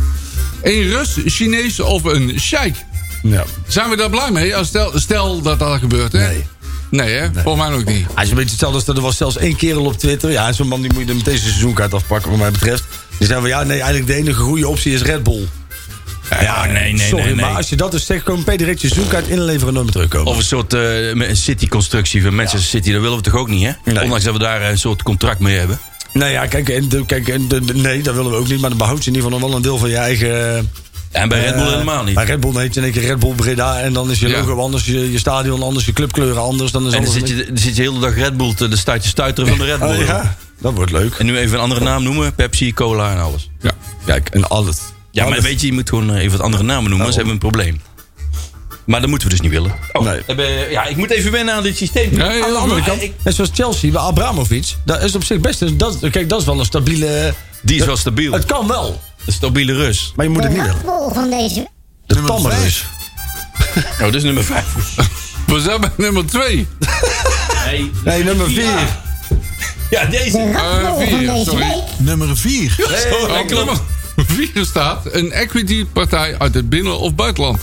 Speaker 5: een Rus, Chinees of een Sheik.
Speaker 6: ja.
Speaker 5: Zijn we daar blij mee? Als stel, stel dat dat gebeurt, hè?
Speaker 6: Nee.
Speaker 5: Nee, hè? Volgens mij ook niet.
Speaker 6: Hij is een beetje hetzelfde als dat er was zelfs één kerel op Twitter. Ja, zo'n man die moet je er meteen zijn seizoenkaart afpakken, wat mij betreft. Die zei van ja, nee, eigenlijk de enige goede optie is Red Bull.
Speaker 4: Ja, nee, nee,
Speaker 6: Sorry,
Speaker 4: nee, nee.
Speaker 6: maar als je dat dus zegt, gewoon per direct je seizoenkaart inleveren en nooit meer terugkomen.
Speaker 4: Of een soort eh, me- een city-constructie van Manchester City. Dat willen we toch ook niet, hè?
Speaker 6: Nee.
Speaker 4: Ondanks dat we daar een soort contract mee hebben.
Speaker 6: nou ja, kijk, en, de- kijk en, de- de- nee, dat willen we ook niet. Maar dan behoud je in ieder geval nog wel een deel van je eigen... eh,
Speaker 4: En bij Red Bull
Speaker 6: Eh,
Speaker 4: helemaal niet.
Speaker 6: Maar Red Bull heet in één keer Red Bull Breda. En dan is je
Speaker 5: Ja.
Speaker 6: logo anders, je, je stadion anders, je clubkleuren anders. Dan is
Speaker 4: En dan
Speaker 6: alles
Speaker 4: zit je, dan zit je de hele dag Red Bull te, dan staat je stuiteren van de Red Bull.
Speaker 6: Oh ja, dat wordt leuk.
Speaker 4: En nu even een andere naam noemen. Pepsi, cola en alles.
Speaker 5: Ja.
Speaker 6: Kijk, en alles.
Speaker 4: Oh, Ja, maar weet je, je moet gewoon eh, even wat andere namen noemen. Ze hebben een probleem. Maar dat moeten we dus niet willen. Oh,
Speaker 6: Nee.
Speaker 4: eh, ben- Ja, ik moet even wennen aan dit systeem.
Speaker 5: Ja, ja,
Speaker 6: Aan de andere
Speaker 5: maar-
Speaker 6: kant,
Speaker 4: ik-
Speaker 6: net zoals Chelsea bij Abramovic, dat is op zich best. een- Dat, kijk, dat is wel een stabiele.
Speaker 4: Die is wel stabiel.
Speaker 6: Het kan wel,
Speaker 4: Een stabiele rus.
Speaker 6: maar je moet het
Speaker 2: De
Speaker 6: niet willen.
Speaker 2: ratbol van deze
Speaker 6: De dus.
Speaker 3: Nummer
Speaker 6: tamme
Speaker 3: vijf.
Speaker 6: is.
Speaker 4: Oh, dat is nummer 5.
Speaker 5: We zijn bij nummer 2.
Speaker 6: Nee, nummer 4.
Speaker 4: Ja,
Speaker 2: De
Speaker 4: deze.
Speaker 2: ratbol
Speaker 5: Eh,
Speaker 2: van
Speaker 5: vier,
Speaker 2: deze
Speaker 5: sorry.
Speaker 2: week.
Speaker 3: Nummer 4.
Speaker 4: Zo, dat
Speaker 5: Op nummer
Speaker 4: Oh, klopt.
Speaker 5: 4 staat een equity partij uit het binnen- of buitenland.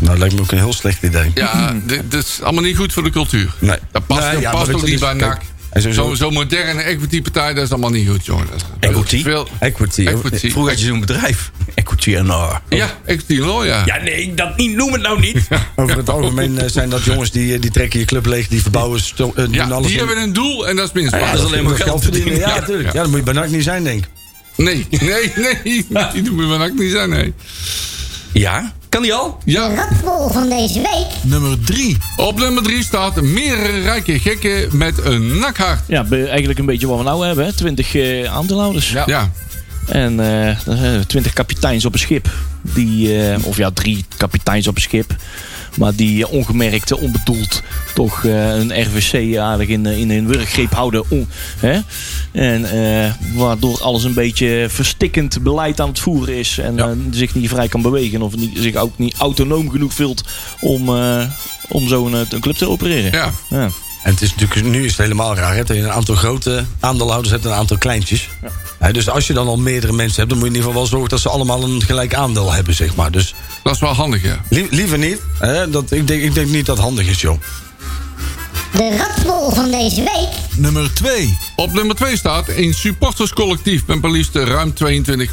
Speaker 6: Nou, lijkt me ook een heel slecht idee.
Speaker 5: Ja, dit, dit is allemaal niet goed voor de cultuur.
Speaker 6: Hmm. Nee.
Speaker 5: Dat past,
Speaker 6: Nee,
Speaker 5: dat
Speaker 6: ja, maar
Speaker 5: past
Speaker 6: dat
Speaker 5: ook
Speaker 6: is-
Speaker 5: niet bij
Speaker 6: kijk,
Speaker 5: NAC.
Speaker 6: en sowieso-
Speaker 5: Zo'n zo moderne equity partij, dat is allemaal niet goed, jongen. Dat is-
Speaker 4: Equity?
Speaker 5: Veel,
Speaker 6: Equity.
Speaker 5: equity.
Speaker 4: Vroeger had je zo'n bedrijf. Equity NR.
Speaker 5: Ja, equity law, ja.
Speaker 4: Ja, nee, dat niet, noem het nou niet.
Speaker 6: Over het algemeen eh, zijn dat jongens die, eh, die trekken je club leeg, die verbouwen, sto- eh, doen
Speaker 5: Ja,
Speaker 6: alles.
Speaker 5: die hebben een doel en dat is minstwaardig.
Speaker 4: Ja, dat is alleen maar geld verdienen.
Speaker 6: Ja, natuurlijk. Ja, dat moet je bij NAC niet zijn, denk ik.
Speaker 5: Nee, nee, nee. Die doen we van NAC niet zijn, nee.
Speaker 4: Ja, kan die al?
Speaker 2: De
Speaker 5: Ja,
Speaker 2: ratbol van deze week.
Speaker 3: Nummer 3.
Speaker 5: op nummer 3 staat meerdere rijke gekken met een nakhart.
Speaker 7: Ja, be- eigenlijk een beetje wat we nou hebben. Hè. 20 eh, aandeelhouders.
Speaker 5: Ja.
Speaker 7: En eh, eh, 20 kapiteins op een schip. Die, eh, of ja, drie kapiteins op een schip. Maar die eh, ongemerkt, eh, onbedoeld toch eh, een RVC aardig in, eh, in hun wurggreep houden. On- hè? En eh, waardoor alles een beetje verstikkend beleid aan het voeren is. En eh, zich niet vrij kan bewegen. Of niet, zich ook niet autonoom genoeg voelt om, eh, om zo'n eh, een club te opereren.
Speaker 5: ja.
Speaker 7: Ja.
Speaker 6: En het is natuurlijk, nu is het helemaal raar. Hè? Dat je een aantal grote aandeelhouders hebt en een aantal kleintjes. Hè, dus als je dan al meerdere mensen hebt, dan moet je in ieder geval wel zorgen dat ze allemaal een gelijk aandeel hebben, zeg maar. Dus
Speaker 5: Dat is wel handig, ja.
Speaker 6: li- liever niet. Hè? Dat, ik, denk, ik denk niet dat het handig is, joh.
Speaker 2: De ratbol van deze week.
Speaker 3: Nummer 2.
Speaker 5: Op nummer 2 staat een supporterscollectief met maar liefst ruim 22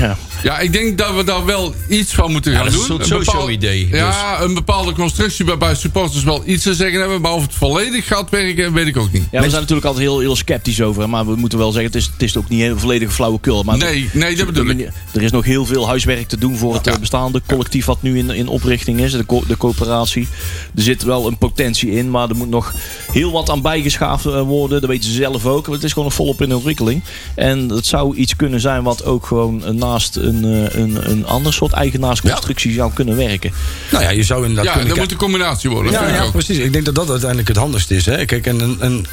Speaker 7: Ja.
Speaker 5: Ja, ik denk dat we daar wel iets van moeten gaan
Speaker 4: dat is
Speaker 5: doen.
Speaker 4: een soort socio-idee, dus.
Speaker 5: Ja, een bepaalde constructie waarbij supporters wel iets te zeggen hebben. Maar of het volledig gaat werken, weet ik ook niet.
Speaker 7: Ja, we zijn natuurlijk altijd heel, heel sceptisch over. Maar we moeten wel zeggen, het is, het is ook niet een volledige flauwekul. Maar
Speaker 5: Nee, nee, dat bedoel ik.
Speaker 7: Er is nog heel veel huiswerk te doen voor het eh, bestaande collectief wat nu in, in oprichting is. De, co- de coöperatie. Er zit wel een potentie in, maar er moet nog heel wat aan bijgeschaafd eh, worden. Dat weten ze zelf ook. want Het is gewoon nog volop in ontwikkeling. En het zou iets kunnen zijn wat ook gewoon eh, naast een, eh, een, een ander soort eigenaarsconstructie zou kunnen werken.
Speaker 6: Nou ja, je zou inderdaad
Speaker 5: Ja,
Speaker 6: kunnen
Speaker 5: dat
Speaker 6: kijken-
Speaker 5: moet een combinatie worden. dat
Speaker 6: Ja,
Speaker 5: vind ik
Speaker 6: ja,
Speaker 5: ook.
Speaker 6: precies. Ik denk dat dat uiteindelijk het handigste is. Hè? Kijk, en, en, en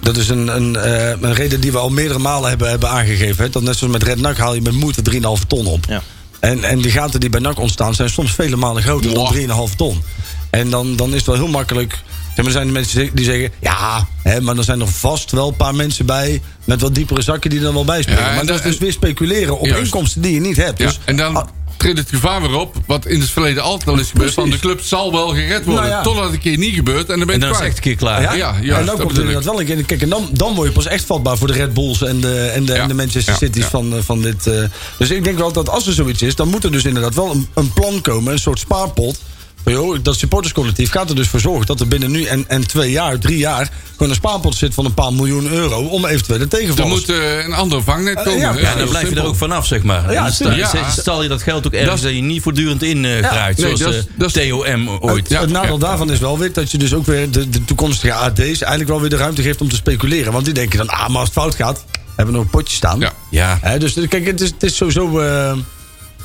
Speaker 6: dat is een, een, eh, een reden die we al meerdere malen hebben, hebben aangegeven. Hè? Dat net zoals met Red NAC haal je met moeite 3,5 ton op.
Speaker 7: Ja.
Speaker 6: En, en die gaten die bij NAC ontstaan zijn soms vele malen groter dan 3,5 ton. En dan, dan is het wel heel makkelijk. Zeg maar, er zijn mensen die zeggen, ja, hè, maar er zijn er vast wel een paar mensen bij... met wat diepere zakken die er dan wel bij spelen.
Speaker 5: Ja, en
Speaker 6: maar dat
Speaker 5: dan-
Speaker 6: is dus
Speaker 5: en-
Speaker 6: weer speculeren op
Speaker 5: Juist.
Speaker 6: inkomsten die je niet hebt.
Speaker 5: Ja,
Speaker 6: Dus,
Speaker 5: en dan
Speaker 6: ah,
Speaker 5: treedt het gevaar weer op, wat in het verleden altijd al is gebeurd. Van de
Speaker 6: Precies.
Speaker 5: club zal wel gered worden,
Speaker 6: Nou ja.
Speaker 5: totdat het een keer niet gebeurt. En dan
Speaker 4: En
Speaker 5: ben
Speaker 4: dan
Speaker 5: je
Speaker 4: is het
Speaker 5: kwijt.
Speaker 4: echt een keer klaar.
Speaker 6: Ja,
Speaker 5: Ja,
Speaker 6: ja,
Speaker 5: juist,
Speaker 6: en
Speaker 5: dat
Speaker 6: dan komt
Speaker 5: bedoel
Speaker 6: er inderdaad wel een keer. Kijk, en dan, dan word je pas echt vatbaar voor de Red Bulls en de, en de,
Speaker 5: Ja,
Speaker 6: en de Manchester
Speaker 5: ja,
Speaker 6: Cities
Speaker 5: ja.
Speaker 6: Van, eh, van dit. eh, dus ik denk wel dat als er zoiets is, dan moet er dus inderdaad wel een, een plan komen, een soort spaarpot. Van, joh, dat supporterscollectief gaat er dus voor zorgen dat er binnen nu en, en twee jaar, drie jaar, gewoon een spaarpot zit van een paar miljoen euro om eventuele
Speaker 5: Er
Speaker 6: tegenvallers.
Speaker 5: moet eh, een andere vangnet
Speaker 6: Eh,
Speaker 5: komen.
Speaker 6: ja,
Speaker 5: hè.
Speaker 4: Ja,
Speaker 5: Heel
Speaker 4: dan blijf je er
Speaker 5: simpel.
Speaker 4: ook vanaf, zeg maar.
Speaker 6: Ja,
Speaker 4: Ja, sta,
Speaker 5: tuurlijk. Ja.
Speaker 4: Stal je dat geld ook ergens
Speaker 5: Dat-
Speaker 4: dat, je niet voortdurend in eh geraakt.
Speaker 5: Nee, dat
Speaker 4: zoals
Speaker 5: is-
Speaker 4: de
Speaker 5: dat is-
Speaker 4: TOM ooit.
Speaker 6: Het,
Speaker 5: Ja,
Speaker 6: het nadeel
Speaker 5: ja.
Speaker 6: daarvan is wel weer dat je dus ook weer de, de toekomstige AD's eigenlijk wel weer de ruimte geeft om te speculeren. Want die denken dan, ah, maar als het fout gaat, hebben we nog een potje staan.
Speaker 5: Ja.
Speaker 4: Ja.
Speaker 6: Hè, dus kijk, het is, het is sowieso eh,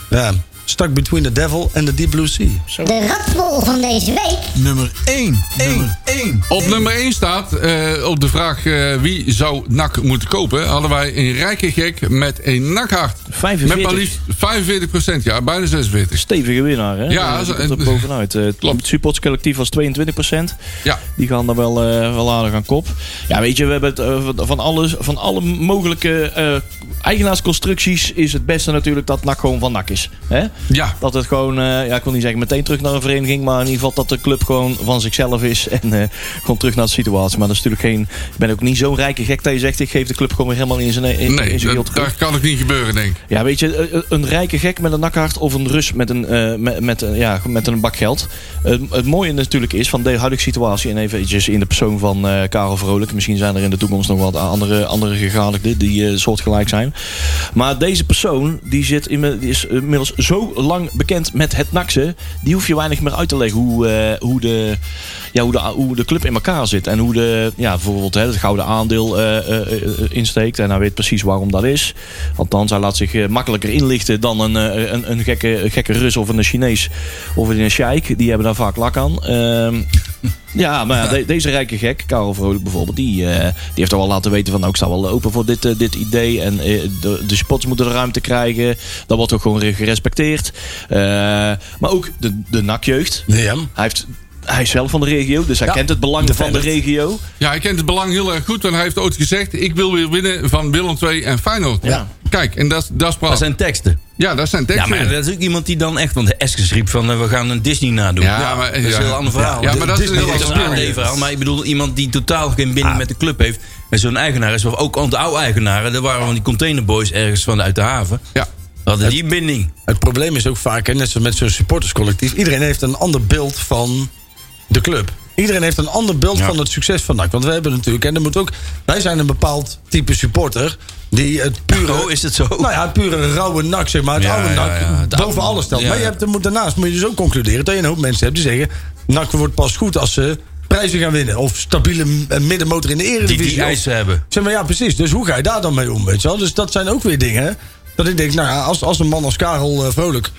Speaker 6: ja, stuck between the devil and the deep blue sea.
Speaker 2: De ratbol van deze week.
Speaker 3: Nummer 1. 1. 1.
Speaker 5: Op nummer 1 staat, eh, op de vraag eh, wie zou NAC moeten kopen, hadden wij een rijke gek met een nakhart.
Speaker 7: 45.
Speaker 5: Met maar liefst 45 ja, bijna 46.
Speaker 7: stevige winnaar. Hè?
Speaker 5: Ja,
Speaker 7: Eh,
Speaker 5: zo-
Speaker 7: die komt er
Speaker 5: en-
Speaker 7: bovenuit. Eh,
Speaker 5: Klopt.
Speaker 7: Het supportscollectief was 22%.
Speaker 5: Ja.
Speaker 7: Die gaan er wel, eh, wel aardig aan kop. Ja, weet je, we hebben het eh, van- van, alles, van alle mogelijke eh, eigenaarsconstructies is het beste natuurlijk dat NAC gewoon van NAC is. Hè?
Speaker 5: Ja.
Speaker 7: Dat het gewoon, eh, ja, ik wil niet zeggen meteen terug naar een vereniging, maar in ieder geval dat de club gewoon van zichzelf is en eh, gewoon terug naar de situatie. Maar dat is natuurlijk geen, ik ben ook niet zo'n rijke gek dat je zegt, ik geef de club gewoon weer helemaal in zijn, in, in zijn
Speaker 5: Nee,
Speaker 7: geheel
Speaker 5: dat,
Speaker 7: terug.
Speaker 5: dat kan ook niet gebeuren, denk ik.
Speaker 7: Ja, weet je, eh, eh, een rijke gek met een nakhart of een Rus met een, eh, met, met, eh, ja, met een bak geld. Het, het mooie natuurlijk is van de huidige situatie, en eventjes in de persoon van eh, Karel Vrolijk, misschien zijn er in de toekomst nog wat andere, andere gegadigden die eh, soortgelijk zijn. Maar deze persoon die zit in, die is inmiddels zo zo lang bekend met het naksen. Die hoef je weinig meer uit te leggen hoe, eh, hoe, de, ja, hoe, de, hoe de club in elkaar zit. En hoe de, ja, bijvoorbeeld hè, het gouden aandeel eh, eh, eh, insteekt. En hij weet precies waarom dat is. Althans, hij laat zich eh, makkelijker inlichten dan een, eh, een, een gekke, een gekke Rus of een Chinees of een Sheik. Die hebben daar vaak lak aan. Ehm, ja, maar ja, de- deze rijke gek, Karel Vrolijk bijvoorbeeld, die, eh, die heeft al wel laten weten van nou, ik sta wel open voor dit, eh, dit idee. En eh, de, de spots moeten de ruimte krijgen. Dat wordt ook gewoon gerespecteerd. Eh, maar ook de, de nakjeugd.
Speaker 6: Ja.
Speaker 7: Hij, heeft, hij is zelf van de regio, dus hij
Speaker 6: Ja,
Speaker 7: kent het belang
Speaker 6: de
Speaker 7: van de
Speaker 6: Feyenoord.
Speaker 7: regio.
Speaker 5: Ja, hij kent het belang heel erg goed. Want hij heeft ooit gezegd... ik wil weer winnen van Willem II en Feyenoord.
Speaker 7: Ja.
Speaker 5: Kijk, en dat, dat is praat.
Speaker 4: Dat zijn teksten.
Speaker 5: Ja, dat zijn
Speaker 4: Ja,
Speaker 5: teksten.
Speaker 4: maar dat is ook iemand die dan echt... Want de Eskes riep van, eh, we gaan een Disney nadoen.
Speaker 5: Ja, maar-
Speaker 4: dat is
Speaker 5: ja.
Speaker 4: een heel ander verhaal.
Speaker 5: Ja, maar dat is een heel
Speaker 4: Dat is
Speaker 5: ander Ah.
Speaker 4: een AD verhaal. Maar ik bedoel, iemand die totaal geen binding met de club heeft. En zo'n eigenaar is, of ook al de oude eigenaren... daar waren van die containerboys ergens van uit de haven.
Speaker 5: Ja.
Speaker 4: Hadden die een binding.
Speaker 6: Het probleem is ook vaak, hè, net zoals met zo'n supporterscollectief... iedereen heeft een ander beeld van de club. Iedereen heeft een ander beeld
Speaker 4: Ja.
Speaker 6: van het succes van NAC. Want we hebben natuurlijk, en er moet ook, wij zijn een bepaald type supporter... die het pure,
Speaker 4: Oh, is het zo?
Speaker 6: nou ja, het pure rauwe NAC, zeg maar, het
Speaker 4: Ja,
Speaker 6: oude
Speaker 4: ja,
Speaker 6: NAC...
Speaker 4: ja, het
Speaker 6: boven
Speaker 4: oude-
Speaker 6: alles stelt.
Speaker 4: ja,
Speaker 6: maar je
Speaker 4: ja.
Speaker 6: hebt, er moet- daarnaast moet je dus ook concluderen... dat je een hoop mensen hebt die zeggen... NAC wordt pas goed als ze prijzen gaan winnen... of stabiele eh, middenmotor in de
Speaker 4: Die
Speaker 6: eredivisie.
Speaker 4: die
Speaker 6: of-
Speaker 4: eisen hebben.
Speaker 6: Zeg maar, ja, precies. Dus hoe ga je daar dan mee om, weet je wel? Dus dat zijn ook weer dingen dat ik denk, nou ja, als, als een man als Karel eh, Vrolijk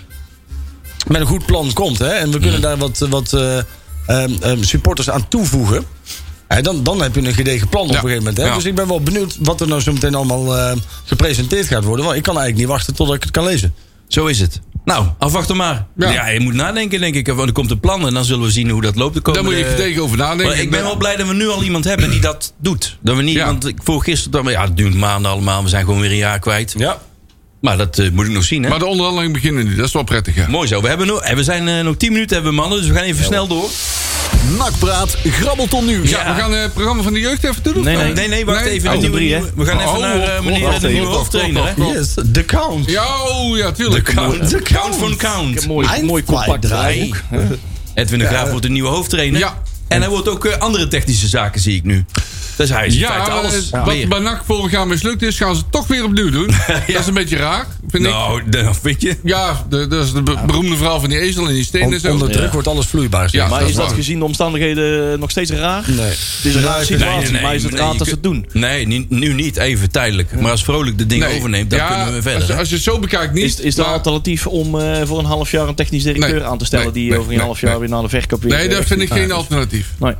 Speaker 6: met een goed plan komt... Hè, en we kunnen daar wat, eh, wat eh, ehm, ehm, supporters aan toevoegen... hè, dan, dan heb je een gedegen plan op een gegeven moment. Hè?
Speaker 5: Ja.
Speaker 6: Dus ik ben wel benieuwd wat er nou zo meteen allemaal eh, gepresenteerd gaat worden. Want ik kan eigenlijk niet wachten tot ik het kan lezen.
Speaker 4: Zo is het. Nou, afwachten maar.
Speaker 5: Ja.
Speaker 4: Ja. je moet nadenken, denk ik. Want er komt een plan en dan zullen we zien hoe dat loopt de
Speaker 5: Daar
Speaker 4: komende...
Speaker 5: moet je gedegen over nadenken.
Speaker 4: Maar eh, ik ben wel blij dat we nu al iemand hebben die dat doet. Dat we niet,
Speaker 5: Ja.
Speaker 4: want ik voor gisteren dacht ik, ja, het duurt maanden allemaal. We zijn gewoon weer een jaar kwijt.
Speaker 6: Ja.
Speaker 4: Maar dat eh, moet ik nog zien, hè?
Speaker 5: Maar de onderhandelingen beginnen nu. Dat is wel prettig, ja.
Speaker 4: Mooi zo. We, hebben nog, eh, we zijn eh, nog 10 minuten hebben we mannen, dus we gaan even snel door.
Speaker 3: Nakpraat, grabbelton nieuws.
Speaker 5: Ja, we gaan eh, het programma van de jeugd even doen. of
Speaker 7: Nee,
Speaker 5: wat?
Speaker 7: nee.
Speaker 4: Nee, nee, wacht
Speaker 5: Nee.
Speaker 4: even.
Speaker 5: Oh,
Speaker 4: de nieuwe-
Speaker 7: drie, hè?
Speaker 4: We gaan even
Speaker 5: Oh,
Speaker 4: naar eh,
Speaker 5: klopt,
Speaker 4: meneer
Speaker 5: klopt,
Speaker 4: de nieuwe
Speaker 5: klopt,
Speaker 4: hoofdtrainer, hè?
Speaker 5: klopt, klopt.
Speaker 6: Yes, de count.
Speaker 5: Ja, oh, ja,
Speaker 4: De
Speaker 5: tuurlijk.
Speaker 4: count. De count van
Speaker 7: Ik heb
Speaker 4: count.
Speaker 7: mooi,
Speaker 6: Eind-
Speaker 7: mooi compact
Speaker 6: Fly-
Speaker 7: draaiboek.
Speaker 4: Edwin de Graaf wordt de nieuwe hoofdtrainer.
Speaker 5: eh, Ja.
Speaker 4: En hij wordt ook eh, andere technische zaken, zie ik nu. Dus hij is in
Speaker 5: Ja,
Speaker 4: feite
Speaker 5: eh,
Speaker 4: alles
Speaker 5: wat
Speaker 4: weer.
Speaker 5: bij NAC vorig jaar mislukt is, gaan ze het toch weer opnieuw doen. Dat is een beetje raar, vind ik.
Speaker 4: Nou, dat weet je.
Speaker 5: Ja, de- dat is de be- beroemde verhaal van die ezel en die steen en
Speaker 6: On-
Speaker 5: zo.
Speaker 6: onder druk
Speaker 7: Ja.
Speaker 6: wordt alles vloeibaar. zeg
Speaker 5: Ja,
Speaker 7: Maar
Speaker 5: dat
Speaker 7: is
Speaker 5: is
Speaker 7: dat
Speaker 5: waar.
Speaker 7: gezien de omstandigheden nog steeds raar?
Speaker 6: Nee.
Speaker 7: Het is een raar situatie, maar is het raar
Speaker 4: je
Speaker 7: dat ze het
Speaker 4: kunt-
Speaker 7: doen?
Speaker 4: Nee, ni- nu niet. Even tijdelijk. Maar als Vrolijk de dingen
Speaker 5: Nee.
Speaker 4: overneemt, dan
Speaker 5: Ja,
Speaker 4: kunnen we verder.
Speaker 5: Als,
Speaker 4: hè?
Speaker 5: als je het zo bekijkt niet.
Speaker 7: Is, is er
Speaker 5: maar-
Speaker 6: Nou.
Speaker 7: alternatief om eh, voor een half jaar een technisch directeur
Speaker 5: Nee,
Speaker 7: aan te stellen...
Speaker 5: nee,
Speaker 7: die eh,
Speaker 5: nee,
Speaker 7: over een
Speaker 5: nee,
Speaker 7: half jaar
Speaker 5: nee.
Speaker 7: weer naar de verkoop...
Speaker 5: Nee, dat vind ik geen alternatief.
Speaker 7: Nee.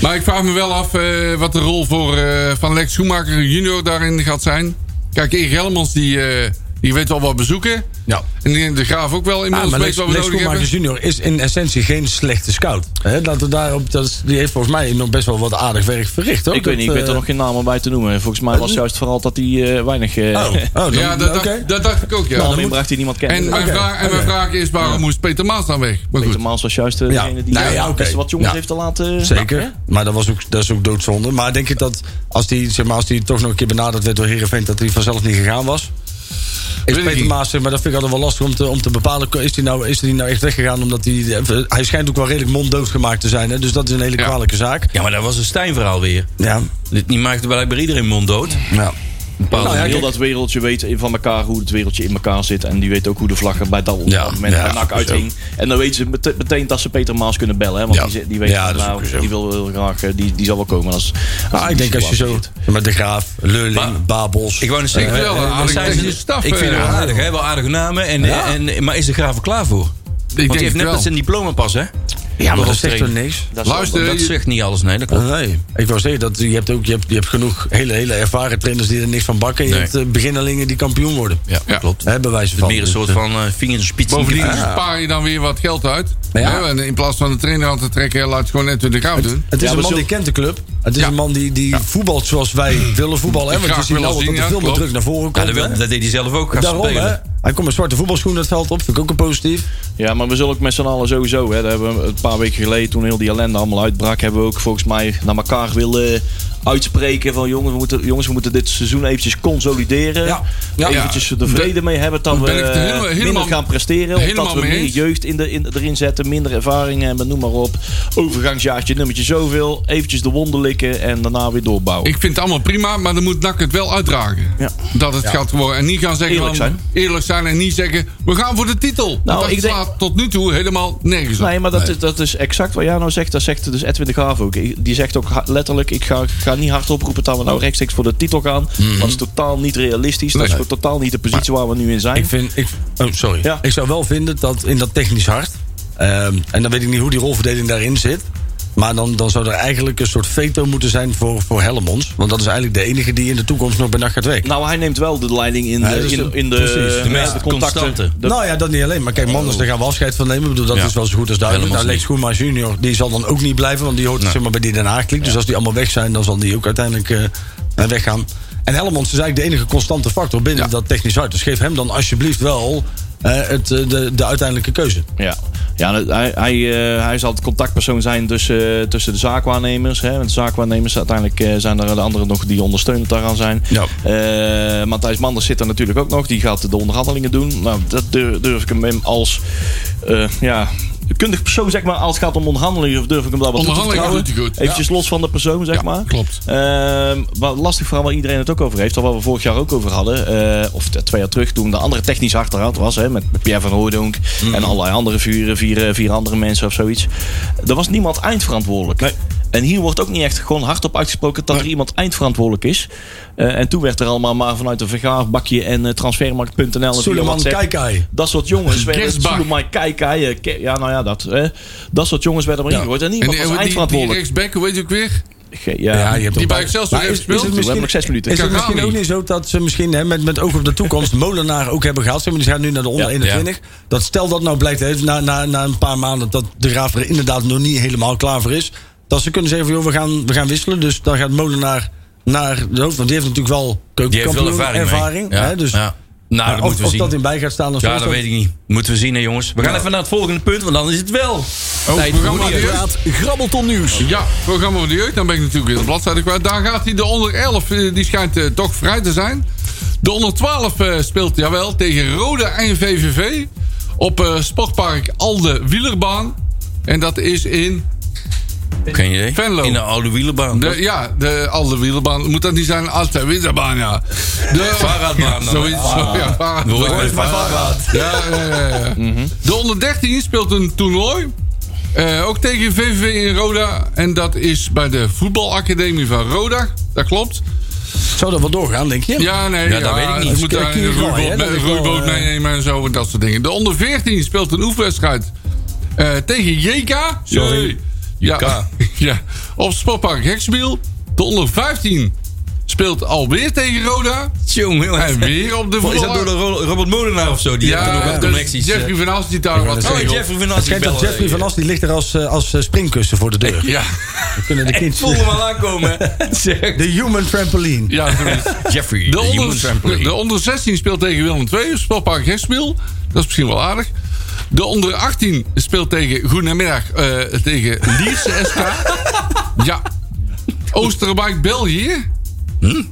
Speaker 5: Maar ik vraag me wel af eh, wat de rol voor, eh, van Lex Schoemaker junior daarin gaat zijn. Kijk, Erik Helmans die, eh, die weet wel wat bezoeken.
Speaker 6: Ja.
Speaker 5: En die- de Graaf ook wel
Speaker 6: Ja,
Speaker 5: inmiddels
Speaker 6: Ah, maar
Speaker 5: weet
Speaker 6: Lex,
Speaker 5: wat we
Speaker 6: Lex
Speaker 5: nodig
Speaker 6: Koelmakers
Speaker 5: hebben.
Speaker 6: junior is in essentie geen slechte scout. Hè, laten we daarop, dat is- die heeft volgens mij nog best wel wat aardig werk verricht. Hoor. eh,
Speaker 7: Ik weet niet, ik weet er nog geen namen bij te noemen. Volgens mij was juist vooral dat hij eh, weinig... eh
Speaker 6: Oh, oh dan,
Speaker 5: Ja, dat, dacht-
Speaker 6: oké. Nou,
Speaker 5: dat dacht ik ook, ja.
Speaker 7: namen inbracht die niemand kende.
Speaker 5: en mijn,
Speaker 6: Oké,
Speaker 5: vraag, en mijn
Speaker 6: oké.
Speaker 5: vraag is, waarom moest Peter Maas dan weg? Maar
Speaker 7: Peter
Speaker 5: goed.
Speaker 7: Maals was juist eh,
Speaker 6: Ja.
Speaker 7: degene die
Speaker 6: Nou
Speaker 7: eh,
Speaker 6: ja, oké.
Speaker 7: best wat jongens
Speaker 6: Ja.
Speaker 7: heeft te laten... eh,
Speaker 6: Zeker,
Speaker 7: Ja, hè?
Speaker 6: maar dat, was ook, dat is ook doodzonde. Maar denk ik dat als die, zeg maar, als die toch nog een keer benaderd werd door Heerenveen... dat hij vanzelf niet gegaan was? Is
Speaker 5: Weet ik
Speaker 6: Peter
Speaker 5: niet.
Speaker 6: Maas, zeg maar dat vind ik altijd wel lastig om te, om te bepalen... is hij nou, is die nou echt weggegaan omdat hij... Hij schijnt ook wel redelijk monddood gemaakt te zijn. Hè? Dus dat is een hele
Speaker 5: Ja.
Speaker 6: kwalijke zaak.
Speaker 4: Ja, maar dat was een Stijn-verhaal weer.
Speaker 6: Ja,
Speaker 4: Dit- Die maakte blijkbaar iedereen mond dood.
Speaker 6: ja.
Speaker 4: Bepaalde
Speaker 6: Nou ja,
Speaker 4: manier.
Speaker 7: Heel dat wereldje weet van elkaar hoe het wereldje in elkaar zit. En die weet ook hoe de vlaggen bij dat op dat
Speaker 6: Ja,
Speaker 7: moment
Speaker 6: ja,
Speaker 7: bij NAC uithing. En dan weten ze mete- meteen dat ze Peter Maas kunnen bellen. Hè, want
Speaker 6: Ja.
Speaker 7: die, ze- die weet
Speaker 6: Ja, dat is
Speaker 7: nou,
Speaker 6: ook zo.
Speaker 7: die wil heel graag, eh, die, die zal wel komen. Als, als
Speaker 6: Ah,
Speaker 7: die
Speaker 6: ik denk als je zo...
Speaker 7: situatie
Speaker 6: Met de Graaf, Leuling,
Speaker 4: Maar-
Speaker 6: Babels...
Speaker 4: Ik wou net
Speaker 5: Ik
Speaker 4: zeggen,
Speaker 5: vind wel een
Speaker 4: eh,
Speaker 5: aardige
Speaker 4: zijn ze-
Speaker 5: technische staf,
Speaker 4: Ik vind
Speaker 5: eh,
Speaker 4: het aardig, hè? Wel aardige namen. En, eh, en, maar is de graaf er klaar voor?
Speaker 5: denk
Speaker 4: Want die
Speaker 5: het
Speaker 4: heeft net
Speaker 5: wel.
Speaker 4: dat zijn diploma pas, hè?
Speaker 6: Ja, maar
Speaker 4: Wel
Speaker 6: dat zegt toch
Speaker 4: trainen.
Speaker 6: niks?
Speaker 7: zit. Dat is wel-
Speaker 5: Luister,
Speaker 4: Dat
Speaker 5: je-
Speaker 4: zegt niet alles, nee. Dat klopt.
Speaker 6: Nee. Ik wou zeggen, dat, je, hebt ook, je, hebt, je hebt genoeg hele, hele ervaren trainers die er niks van bakken. Je
Speaker 4: Nee.
Speaker 6: hebt eh, beginnelingen die kampioen worden.
Speaker 4: Ja,
Speaker 5: Ja.
Speaker 4: klopt.
Speaker 6: Hè, bij wijze
Speaker 4: Het
Speaker 6: van.
Speaker 4: is meer een
Speaker 6: Dus,
Speaker 4: soort
Speaker 6: eh,
Speaker 4: van eh vingerspitsen.
Speaker 5: Bovendien spaar je dan weer wat geld uit.
Speaker 6: Nou ja.
Speaker 5: Hè, en in plaats van de trainer aan te trekken, laat het gewoon net weer de Graaf doen.
Speaker 6: Het
Speaker 7: Ja,
Speaker 6: is een
Speaker 7: maar
Speaker 6: man
Speaker 7: zo-
Speaker 6: die kent de club. Het is
Speaker 5: Ja.
Speaker 6: een man die, die voetbalt zoals wij willen voetballen. hè,
Speaker 5: Ik
Speaker 6: Want je
Speaker 5: graag
Speaker 6: ziet
Speaker 5: wil
Speaker 6: nou dat
Speaker 5: zien,
Speaker 6: er
Speaker 5: ja,
Speaker 6: veel meer
Speaker 5: klopt.
Speaker 6: druk naar voren
Speaker 4: Ja,
Speaker 6: komt.
Speaker 4: dat, wil-
Speaker 6: hè.
Speaker 4: dat deed hij zelf ook. Gaat
Speaker 6: Daarom, hè.
Speaker 4: spelen.
Speaker 6: Hij komt met zwarte voetbalschoenen het veld op. Vind ik ook een positief.
Speaker 7: Ja, maar we zullen ook met z'n allen sowieso. Hè, dat hebben we een paar weken geleden, toen heel die ellende allemaal uitbrak, hebben we ook volgens mij naar elkaar willen uitspreken van jongens we, moeten, jongens, we moeten dit seizoen eventjes consolideren.
Speaker 6: Ja. Ja.
Speaker 7: Eventjes de vrede mee hebben dat
Speaker 5: Daar
Speaker 7: we
Speaker 5: ben ik het helemaal-
Speaker 7: eh,
Speaker 5: helemaal-
Speaker 7: minder gaan presteren. Of
Speaker 5: helemaal
Speaker 7: dat we
Speaker 5: mee
Speaker 7: meer
Speaker 5: eens.
Speaker 7: jeugd in de, in, erin zetten, minder ervaring hebben, noem maar op. Overgangsjaartje nummertje zoveel. Eventjes de wonden likken en daarna weer doorbouwen.
Speaker 5: Ik vind het allemaal prima, maar dan moet NAC het wel uitdragen.
Speaker 7: Ja.
Speaker 5: Dat het gaat worden. En niet gaan zeggen...
Speaker 7: Eerlijk
Speaker 5: van-
Speaker 7: zijn.
Speaker 5: Eerlijk zijn en niet zeggen... We gaan voor de titel.
Speaker 6: Nou,
Speaker 5: Want dat
Speaker 7: ik denk-
Speaker 5: slaat tot nu toe helemaal nergens op.
Speaker 7: Nee, maar dat, is- dat is exact wat jij nou zegt. Dat zegt dus Edwin de Graaf ook. Ik- Die zegt ook ha- letterlijk: ik ga, ga niet hard oproepen dat we nou rechtstreeks voor de titel gaan. Dat is totaal niet realistisch. Dat is
Speaker 5: Nee.
Speaker 7: voor totaal niet de positie waar we nu in zijn.
Speaker 6: Ik, vind, ik, oh, sorry.
Speaker 7: Ja.
Speaker 6: ik zou wel vinden dat in dat technisch hart. ehm, en dan weet ik niet hoe die rolverdeling daarin zit. Maar dan, dan zou er eigenlijk een soort veto moeten zijn voor, voor Helmonds. Want dat is eigenlijk de enige die in de toekomst nog bij nacht gaat werken.
Speaker 7: nou, hij neemt wel de leiding in de,
Speaker 6: Ja, dus
Speaker 7: in, in de,
Speaker 6: precies. De
Speaker 7: ja,
Speaker 4: meest constante.
Speaker 7: De-
Speaker 6: nou ja, dat niet alleen. Maar kijk, Manders, daar gaan we afscheid van nemen. Ik bedoel, dat
Speaker 4: Ja.
Speaker 6: is wel zo goed als duidelijk.
Speaker 4: Helemaal
Speaker 6: Nou, Lex
Speaker 4: niet.
Speaker 6: Goermaas junior, die zal dan ook niet blijven. Want die hoort zeg maar, bij die Den haag kliek. Dus als die allemaal weg zijn, dan zal die ook uiteindelijk eh, eh, weggaan. En Helmonds is eigenlijk de enige constante factor binnen
Speaker 5: Ja.
Speaker 6: dat technisch hart. Dus geef hem dan alsjeblieft wel eh, het, eh, de, de uiteindelijke keuze.
Speaker 7: Ja, ja dat- hij, hij, eh, hij zal het contactpersoon zijn tussen, tussen de zaakwaarnemers. Hè? Want de zaakwaarnemers, uiteindelijk eh, zijn er de anderen nog die ondersteunend daaraan zijn.
Speaker 6: Ja.
Speaker 7: Eh, Matthijs Manders zit er natuurlijk ook nog. Die gaat de onderhandelingen doen. Nou, dat durf, durf ik hem als eh, ja, kundig persoon, zeg maar, als het gaat om onderhandelingen, durf ik hem daar wat toe te
Speaker 5: Onderhandelingen
Speaker 7: vertrouwen.
Speaker 5: doet hij goed.
Speaker 7: Eventjes los van de persoon, zeg
Speaker 5: Ja,
Speaker 7: maar.
Speaker 5: klopt.
Speaker 7: Ehm, wat lastig verhaal waar iedereen het ook over heeft. Al waar we vorig jaar ook over hadden. eh, of twee jaar terug toen de andere technisch achteruit was. Hè, met Pierre van Hooydonk en allerlei andere vuren. Vier, eh, vier andere mensen of zoiets. Er was niemand eindverantwoordelijk. En hier wordt ook niet echt gewoon hardop uitgesproken dat er iemand eindverantwoordelijk is. Eh, en toen werd er allemaal maar vanuit een vergaarbakje en eh, transfermarkt.nl. en via
Speaker 6: Suleiman
Speaker 7: WhatsApp-
Speaker 6: Kaikai.
Speaker 7: Dat soort jongens werden.
Speaker 5: Kerstbak.
Speaker 7: Suleiman Kaikai. eh, Ke- Ja, nou ja, dat. eh, dat soort jongens werden er maar ingegooid. En
Speaker 5: En
Speaker 7: niemand
Speaker 5: die,
Speaker 7: was
Speaker 5: die, die,
Speaker 7: eindverantwoordelijk.
Speaker 5: rechtsback, hoe heet die ook weer?
Speaker 7: Ge-
Speaker 6: Ja, je hebt
Speaker 5: Die
Speaker 6: ook
Speaker 5: bij
Speaker 6: bij-
Speaker 5: Excelsior
Speaker 6: Maar
Speaker 5: heeft
Speaker 6: is- is het
Speaker 5: gespeeld.
Speaker 7: We hebben nog zes minuten.
Speaker 6: Is het misschien
Speaker 5: Kagami.
Speaker 6: ook niet zo dat ze misschien hè, met, met oog op de toekomst Molenaar ook hebben gehad? Zeg maar, die gaat nu naar de onder
Speaker 7: Ja.
Speaker 6: 21. Dat stel dat nou blijkt hè, na, na, na een paar maanden dat de Graaf er inderdaad nog niet helemaal klaar voor is. Dat ze kunnen zeggen van joh, we gaan, we gaan wisselen. Dus dan gaat Molenaar naar de hoofd. Want die heeft natuurlijk wel
Speaker 4: Die heeft wel
Speaker 6: keukenkampioen
Speaker 4: ervaring. mee.
Speaker 6: ervaring.
Speaker 4: Ja.
Speaker 6: hè, dus,
Speaker 4: ja. Nou,
Speaker 6: maar
Speaker 4: dat
Speaker 6: of
Speaker 4: moeten we
Speaker 6: of
Speaker 4: zien.
Speaker 6: dat in bij gaat staan. of
Speaker 4: ja,
Speaker 6: zo,
Speaker 4: dat
Speaker 6: is
Speaker 4: weet ik niet. Moeten we zien, hè, jongens. We gaan even naar het volgende punt, want dan is het wel.
Speaker 5: Oh,
Speaker 4: Tijd
Speaker 5: programma
Speaker 4: voor
Speaker 5: van de
Speaker 4: die-
Speaker 5: jeugd.
Speaker 3: Praat Grabbelton Nieuws.
Speaker 5: Ja, programma van de jeugd. Dan ben ik natuurlijk weer de bladzijde kwijt. Daar gaat hij de onder 11. eh, Die schijnt eh, toch vrij te zijn. De onder 12 eh, speelt, jawel, tegen Rode en VVV. Op eh, Sportpark Alde Wielerbaan. En dat is in...
Speaker 4: Geen idee.
Speaker 5: Venlo.
Speaker 4: In de oude wielerbaan.
Speaker 5: De, ja, de Alde Wielerbaan. Moet dat niet zijn? Alde Wielerbaan, ja. De
Speaker 4: Fahrradbaan dan.
Speaker 5: Zoiets, zo, ja,
Speaker 4: Hoe is
Speaker 5: Fahrradbaan.
Speaker 4: het met Varad?
Speaker 5: Ja, ja, ja, ja.
Speaker 4: Mhm.
Speaker 5: De onder 13 speelt een toernooi. Eh, ook tegen VVV in Roda. En dat is bij de voetbalacademie van Roda. Dat klopt.
Speaker 6: Zou dat wel doorgaan, denk je?
Speaker 5: Ja, nee.
Speaker 4: Ja, dat weet ik niet.
Speaker 5: Je moet
Speaker 6: Dat
Speaker 5: daar
Speaker 6: kun je
Speaker 5: een
Speaker 6: wel, hè?
Speaker 5: roeiboot,
Speaker 6: Dat
Speaker 5: een
Speaker 6: is wel,
Speaker 5: roeiboot
Speaker 6: eh,
Speaker 5: meenemen en zo. En dat soort dingen. De onder 14 speelt een oefenwedstrijd eh, tegen JK. Sorry. Ja, ja. Op Sportpark Heksbiel. De onder 15 speelt alweer tegen Roda.
Speaker 4: Jongen,
Speaker 5: En weer op de
Speaker 4: Wat, Is dat door
Speaker 5: voetbal.
Speaker 4: de Ro- Robert Molenaar of zo? Die heeft er nog
Speaker 5: Ja,
Speaker 4: wel
Speaker 5: dus
Speaker 4: connecties. eh.
Speaker 5: Jeffrey van As die daar wat
Speaker 4: Oh,
Speaker 5: tegen op.
Speaker 4: Jeffrey van
Speaker 6: Het
Speaker 4: As. die
Speaker 6: schijnt dat
Speaker 4: belde.
Speaker 6: Jeffrey van As die ligt er als, eh, als eh, springkussen voor de deur.
Speaker 5: Ja,
Speaker 6: Dan kunnen de
Speaker 4: Ik voel
Speaker 6: kindjes...
Speaker 4: hem al aankomen. Zeg.
Speaker 6: De human trampoline.
Speaker 5: ja zoiets.
Speaker 4: Jeffrey,
Speaker 5: De
Speaker 4: de human
Speaker 5: onder,
Speaker 4: trampoline.
Speaker 5: de onder 16 speelt tegen Willem II. Sportpark Hexmiel. Dat is misschien wel aardig. De onder 18 speelt tegen Goedemiddag eh, tegen Leeds SK. ja. Oosterwijk, België.
Speaker 4: Hm?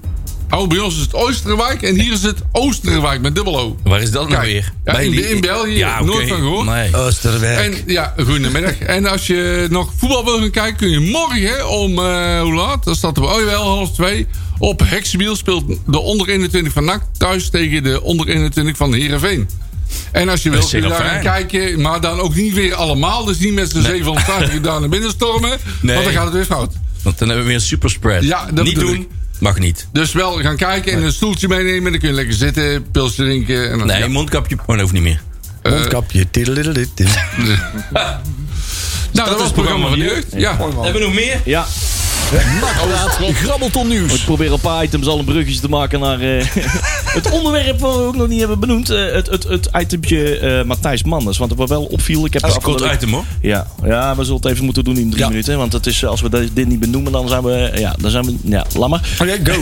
Speaker 5: Oh, bij ons is het Oosterwijk en hier is het Oosterwijk met dubbel O.
Speaker 4: Waar is dat nou
Speaker 5: Kijk,
Speaker 4: weer?
Speaker 5: ja,
Speaker 4: Bij
Speaker 5: in-
Speaker 4: die-
Speaker 5: in België,
Speaker 4: Ja, oké.
Speaker 5: nooit van gehoord.
Speaker 4: Nee.
Speaker 6: Oosterwijk.
Speaker 5: En ja, goedemiddag. En als je nog voetbal wil gaan kijken, kun je morgen om eh, hoe laat? Dan staat er oh wel half twee. Op Heksenwiel speelt de onder 21 van NAC thuis tegen de onder 21 van Heerenveen. En als je wil, kun je
Speaker 4: zeker
Speaker 5: daar gaan
Speaker 4: fijn.
Speaker 5: kijken. Maar dan ook niet weer allemaal. Dus niet met z'n 750 daar naar binnen stormen.
Speaker 4: Nee.
Speaker 5: Want dan gaat het weer fout.
Speaker 4: Want dan hebben we weer een superspread.
Speaker 5: Ja, dat
Speaker 4: Niet
Speaker 5: bedoel
Speaker 4: doen.
Speaker 5: ik.
Speaker 4: Mag niet.
Speaker 5: Dus wel gaan kijken en een stoeltje meenemen. Dan kun je lekker zitten, pils drinken. En dan, Nou,
Speaker 4: Nee,
Speaker 5: ja.
Speaker 4: mondkapje gewoon hoeft niet meer.
Speaker 6: Mondkapje. tiddelidelidit.
Speaker 5: Nou, dat, was het programma van de jeugd. Ja.
Speaker 4: Hebben we nog meer?
Speaker 7: Ja,
Speaker 3: Nakpraat Grabbelton
Speaker 7: ik
Speaker 3: Nieuws.
Speaker 7: probeer op een paar items al een bruggetje te maken naar eh, het onderwerp wat we ook nog niet hebben benoemd. Eh, het, het, het itempje eh Matthijs Manders. Want wat wel opviel, ik heb
Speaker 4: Dat is
Speaker 7: de
Speaker 4: een kort
Speaker 7: afgelopen
Speaker 4: item hoor.
Speaker 7: week- Ja, ja, we zullen het even moeten doen in drie minuten. Want het is, eh, als we dit- dit niet benoemen, dan zijn we... Ja, dan zijn we... Ja, lammer.
Speaker 6: Oké, go.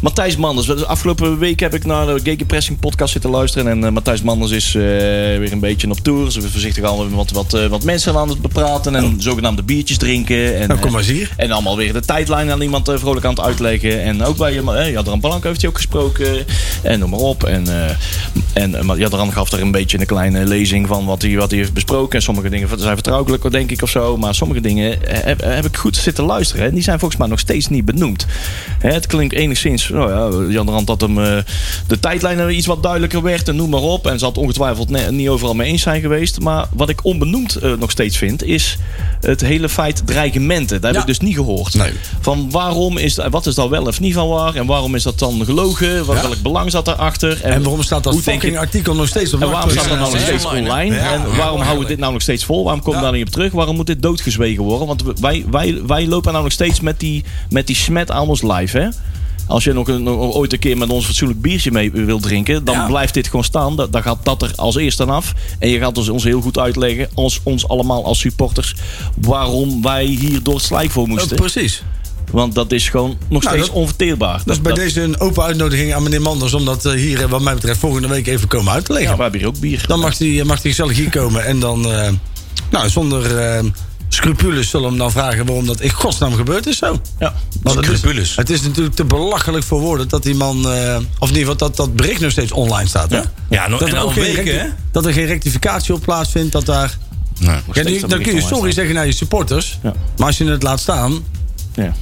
Speaker 7: Matthijs Manders. De afgelopen week heb ik naar de Gegenpressing podcast zitten luisteren. En eh, Matthijs Manders is eh, weer een beetje op tour. Ze voorzichtig al wat, wat, eh, wat mensen aan het bepraten. En zogenaamde biertjes drinken. En,
Speaker 6: Oh.
Speaker 7: eh,
Speaker 6: Nou, kom maar eens hier.
Speaker 7: En allemaal weer de tijdlijn aan iemand eh, vrolijk aan het uitleggen. En ook bij eh, Jadran Palanko heeft hij ook gesproken. En noem maar op. En, eh en eh, maar Jadran gaf er een beetje een kleine lezing van wat hij, wat hij heeft besproken. En sommige dingen zijn vertrouwelijk, denk ik, of zo. Maar sommige dingen eh, heb, heb ik goed zitten luisteren. hè. En die zijn volgens mij nog steeds niet benoemd. Hè, het klinkt enigszins... Nou ja, Jadran dat hem eh, de tijdlijn eh, iets wat duidelijker werd. En noem maar op. En zal het ongetwijfeld ne- niet overal mee eens zijn geweest. Maar wat ik onbenoemd eh, nog steeds vind... is het hele feit dreigementen. Daar heb ik dus niet gehoord.
Speaker 4: Nee.
Speaker 7: Van waarom is dat, wat is dat wel of niet van waar? En waarom is dat dan gelogen? Wat, Welk belang zat daarachter?
Speaker 6: En waarom staat dat
Speaker 7: hoe denk
Speaker 6: fucking
Speaker 7: je-
Speaker 6: artikel nog steeds op
Speaker 7: en waarom staat dat nou nog
Speaker 4: Ja,
Speaker 7: steeds
Speaker 4: online, hè?
Speaker 7: online?
Speaker 4: Ja,
Speaker 7: en
Speaker 4: ja,
Speaker 7: waarom houden we dit nou nog steeds vol? Waarom komen we daar niet op terug? Waarom moet dit doodgezwegen worden? Want wij, wij, wij lopen nou nog steeds met die, met die smet aan ons lijf, hè? Als je nog, een- nog ooit een keer met ons fatsoenlijk biertje mee wilt drinken, dan blijft dit gewoon staan. Da- Dan gaat dat er als eerste aan af. En je gaat ons, ons heel goed uitleggen, ons, ons allemaal als supporters, waarom wij hier door het slijk voor moesten.
Speaker 4: precies.
Speaker 7: Want dat is gewoon nog
Speaker 6: Nou,
Speaker 7: steeds
Speaker 6: dat-
Speaker 7: onverteerbaar.
Speaker 6: Dat is bij deze een open uitnodiging aan meneer Manders. Om dat eh, hier, eh, wat mij betreft, volgende week even komen uit te leggen.
Speaker 7: Ja, we hebben hier ook bier.
Speaker 6: Dan mag hij mag die gezellig hier komen. En dan, eh, nou, zonder eh, scrupules zullen we hem dan vragen waarom dat in godsnaam gebeurd is zo.
Speaker 7: Ja.
Speaker 6: Want het is-
Speaker 4: Scrupules.
Speaker 6: Het is natuurlijk te belachelijk voor woorden dat die man... eh, of in ieder geval dat dat bericht nog steeds online staat. Hè?
Speaker 4: Ja, nou,
Speaker 6: Dat,
Speaker 4: en
Speaker 6: er
Speaker 4: al
Speaker 6: ook geen
Speaker 4: weken, hè?
Speaker 6: recti- dat er geen rectificatie op plaatsvindt. Dat daar,
Speaker 4: Nee.
Speaker 6: ja, die-
Speaker 7: steeds dat
Speaker 6: dan kun je
Speaker 7: bericht online
Speaker 6: sorry zeggen naar je supporters.
Speaker 7: Ja.
Speaker 6: Maar als je het laat staan...
Speaker 7: Ja.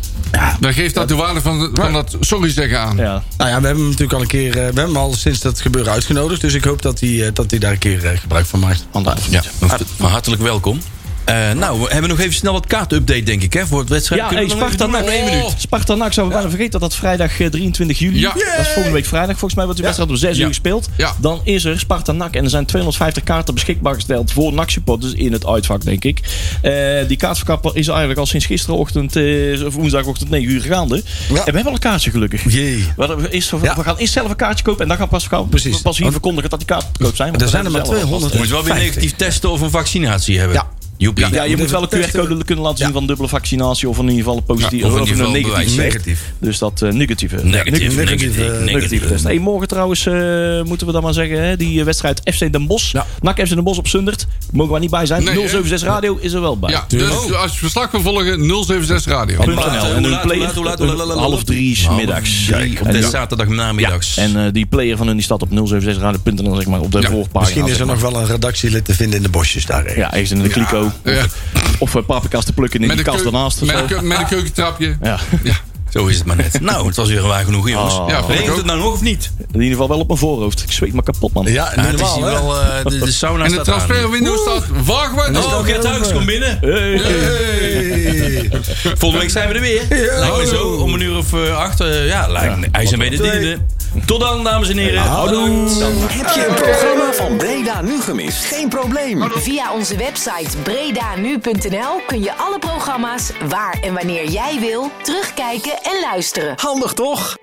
Speaker 5: Dan geeft dat de waarde van, van dat sorry zeggen aan.
Speaker 7: ja.
Speaker 6: Nou ja, we hebben hem natuurlijk al een keer... eh, we hebben hem al sinds dat gebeuren uitgenodigd. Dus ik hoop dat hij, eh, dat hij daar een keer eh, gebruik van maakt.
Speaker 7: Anderhalf
Speaker 4: Ja,
Speaker 7: minuut.
Speaker 4: van hartelijk welkom. Eh, nou, we hebben nog even snel wat kaartupdate, denk ik, hè, voor het wedstrijd.
Speaker 7: Ja,
Speaker 4: Kunnen
Speaker 7: hey,
Speaker 4: we nog
Speaker 7: Sparta
Speaker 4: even
Speaker 7: NAC.
Speaker 4: doen? Oh, Nog één minuut.
Speaker 7: Sparta NAC zou we bijna vergeten dat dat vrijdag eh, 23 juli.
Speaker 5: Ja.
Speaker 7: Dat is volgende week vrijdag volgens mij wordt die wedstrijd om 6
Speaker 4: Ja.
Speaker 7: uur gespeeld.
Speaker 5: Ja.
Speaker 7: Dan is er Sparta NAC en er zijn 250 kaarten beschikbaar gesteld voor NAC supporters in het uitvak denk ik. Eh, die kaartverkapper is eigenlijk al sinds gisterenochtend eh, of woensdagochtend 9 uur gaande. En we hebben al een kaartje gelukkig.
Speaker 6: Jee.
Speaker 7: We, hadden- we eerst, we
Speaker 6: Ja.
Speaker 7: gaan eerst zelf een kaartje kopen en dan gaan we pas, gaan,
Speaker 6: Precies.
Speaker 7: pas hier
Speaker 6: Want-
Speaker 7: verkondigen dat die kaarten te koop zijn. want
Speaker 6: Er
Speaker 7: we
Speaker 6: zijn er maar
Speaker 7: zelf alvast.
Speaker 6: 200.
Speaker 4: Je moet wel weer negatief testen of een vaccinatie hebben.
Speaker 6: Ja.
Speaker 4: Joepie.
Speaker 7: Ja, je
Speaker 6: moet
Speaker 7: moet wel een
Speaker 6: even testen.
Speaker 7: QR-code kunnen laten zien
Speaker 6: Ja.
Speaker 7: van dubbele vaccinatie of in ieder geval een positief
Speaker 4: Ja, of in
Speaker 7: of,
Speaker 4: ieder
Speaker 7: een
Speaker 4: geval
Speaker 7: negatief.
Speaker 4: bewijs.
Speaker 6: Negatief.
Speaker 7: Dus dat eh, negatieve.
Speaker 4: Negatief,
Speaker 6: negatief,
Speaker 4: negatief,
Speaker 6: eh,
Speaker 7: Negatieve test. Hey, morgen trouwens, eh, moeten we dan maar zeggen, hè, die eh, wedstrijd FC Den Bosch. NAC FC Den Bosch op Sundert. Mogen we niet bij zijn.
Speaker 5: Nee, hè?
Speaker 7: 076 Radio is er wel bij.
Speaker 5: Ja, dus als je verslag wil volgen, 076 Radio.
Speaker 7: Punt
Speaker 4: Hoe laat,
Speaker 7: NL.
Speaker 4: hoe
Speaker 7: En
Speaker 4: laat,
Speaker 7: hun
Speaker 4: hoe laat, hoe laat, hoe laat, hoe
Speaker 7: player
Speaker 4: laat?
Speaker 7: half drie 's middags.
Speaker 4: Oh, Kijk, op
Speaker 7: En
Speaker 4: de
Speaker 7: die-
Speaker 4: zaterdag namiddags.
Speaker 7: En eh, die player van hun die staat op 076radio.nl zeg maar op de
Speaker 5: Ja,
Speaker 7: voorpagina.
Speaker 6: Misschien is
Speaker 7: zeg
Speaker 6: er
Speaker 7: maar.
Speaker 6: nog wel een redactielid te vinden in de bosjes daar. hè.
Speaker 7: Ja, ergens in de kliko.
Speaker 5: Ja.
Speaker 7: Of eh, paprika's te plukken in de
Speaker 5: een
Speaker 7: kast
Speaker 5: keu-
Speaker 7: daarnaast. of
Speaker 5: met,
Speaker 7: zo.
Speaker 5: een keu- met een keukentrapje.
Speaker 7: Ja.
Speaker 5: Ja.
Speaker 4: Zo is het maar net. Nou, het was weer waar genoeg, jongens.
Speaker 5: Ja,
Speaker 7: Oh.
Speaker 5: vind ik
Speaker 4: Regent
Speaker 5: ook.
Speaker 4: het nou nog of niet?
Speaker 7: In ieder geval wel op mijn voorhoofd. Ik zweet me kapot, man.
Speaker 6: Ja,
Speaker 4: Ja, het is
Speaker 6: normaal
Speaker 4: hier
Speaker 6: hè?
Speaker 4: wel, eh, de, de sauna
Speaker 5: En de
Speaker 4: staat aan.
Speaker 5: transferwindow staat wachtwaard.
Speaker 4: Oh, Gert Huijks, kom binnen.
Speaker 6: Hey.
Speaker 4: Volgende week zijn we er weer. Lijkt me zo, om een uur of eh, acht. eh, ja, lijkt me. IJs en wederdienende. Tot dan, dames en heren. Bedankt.
Speaker 9: Heb je een programma van Breda nu gemist? Geen probleem.
Speaker 1: Via onze website bredanu.nl kun je alle programma's waar en wanneer jij wil terugkijken en luisteren.
Speaker 9: Handig toch?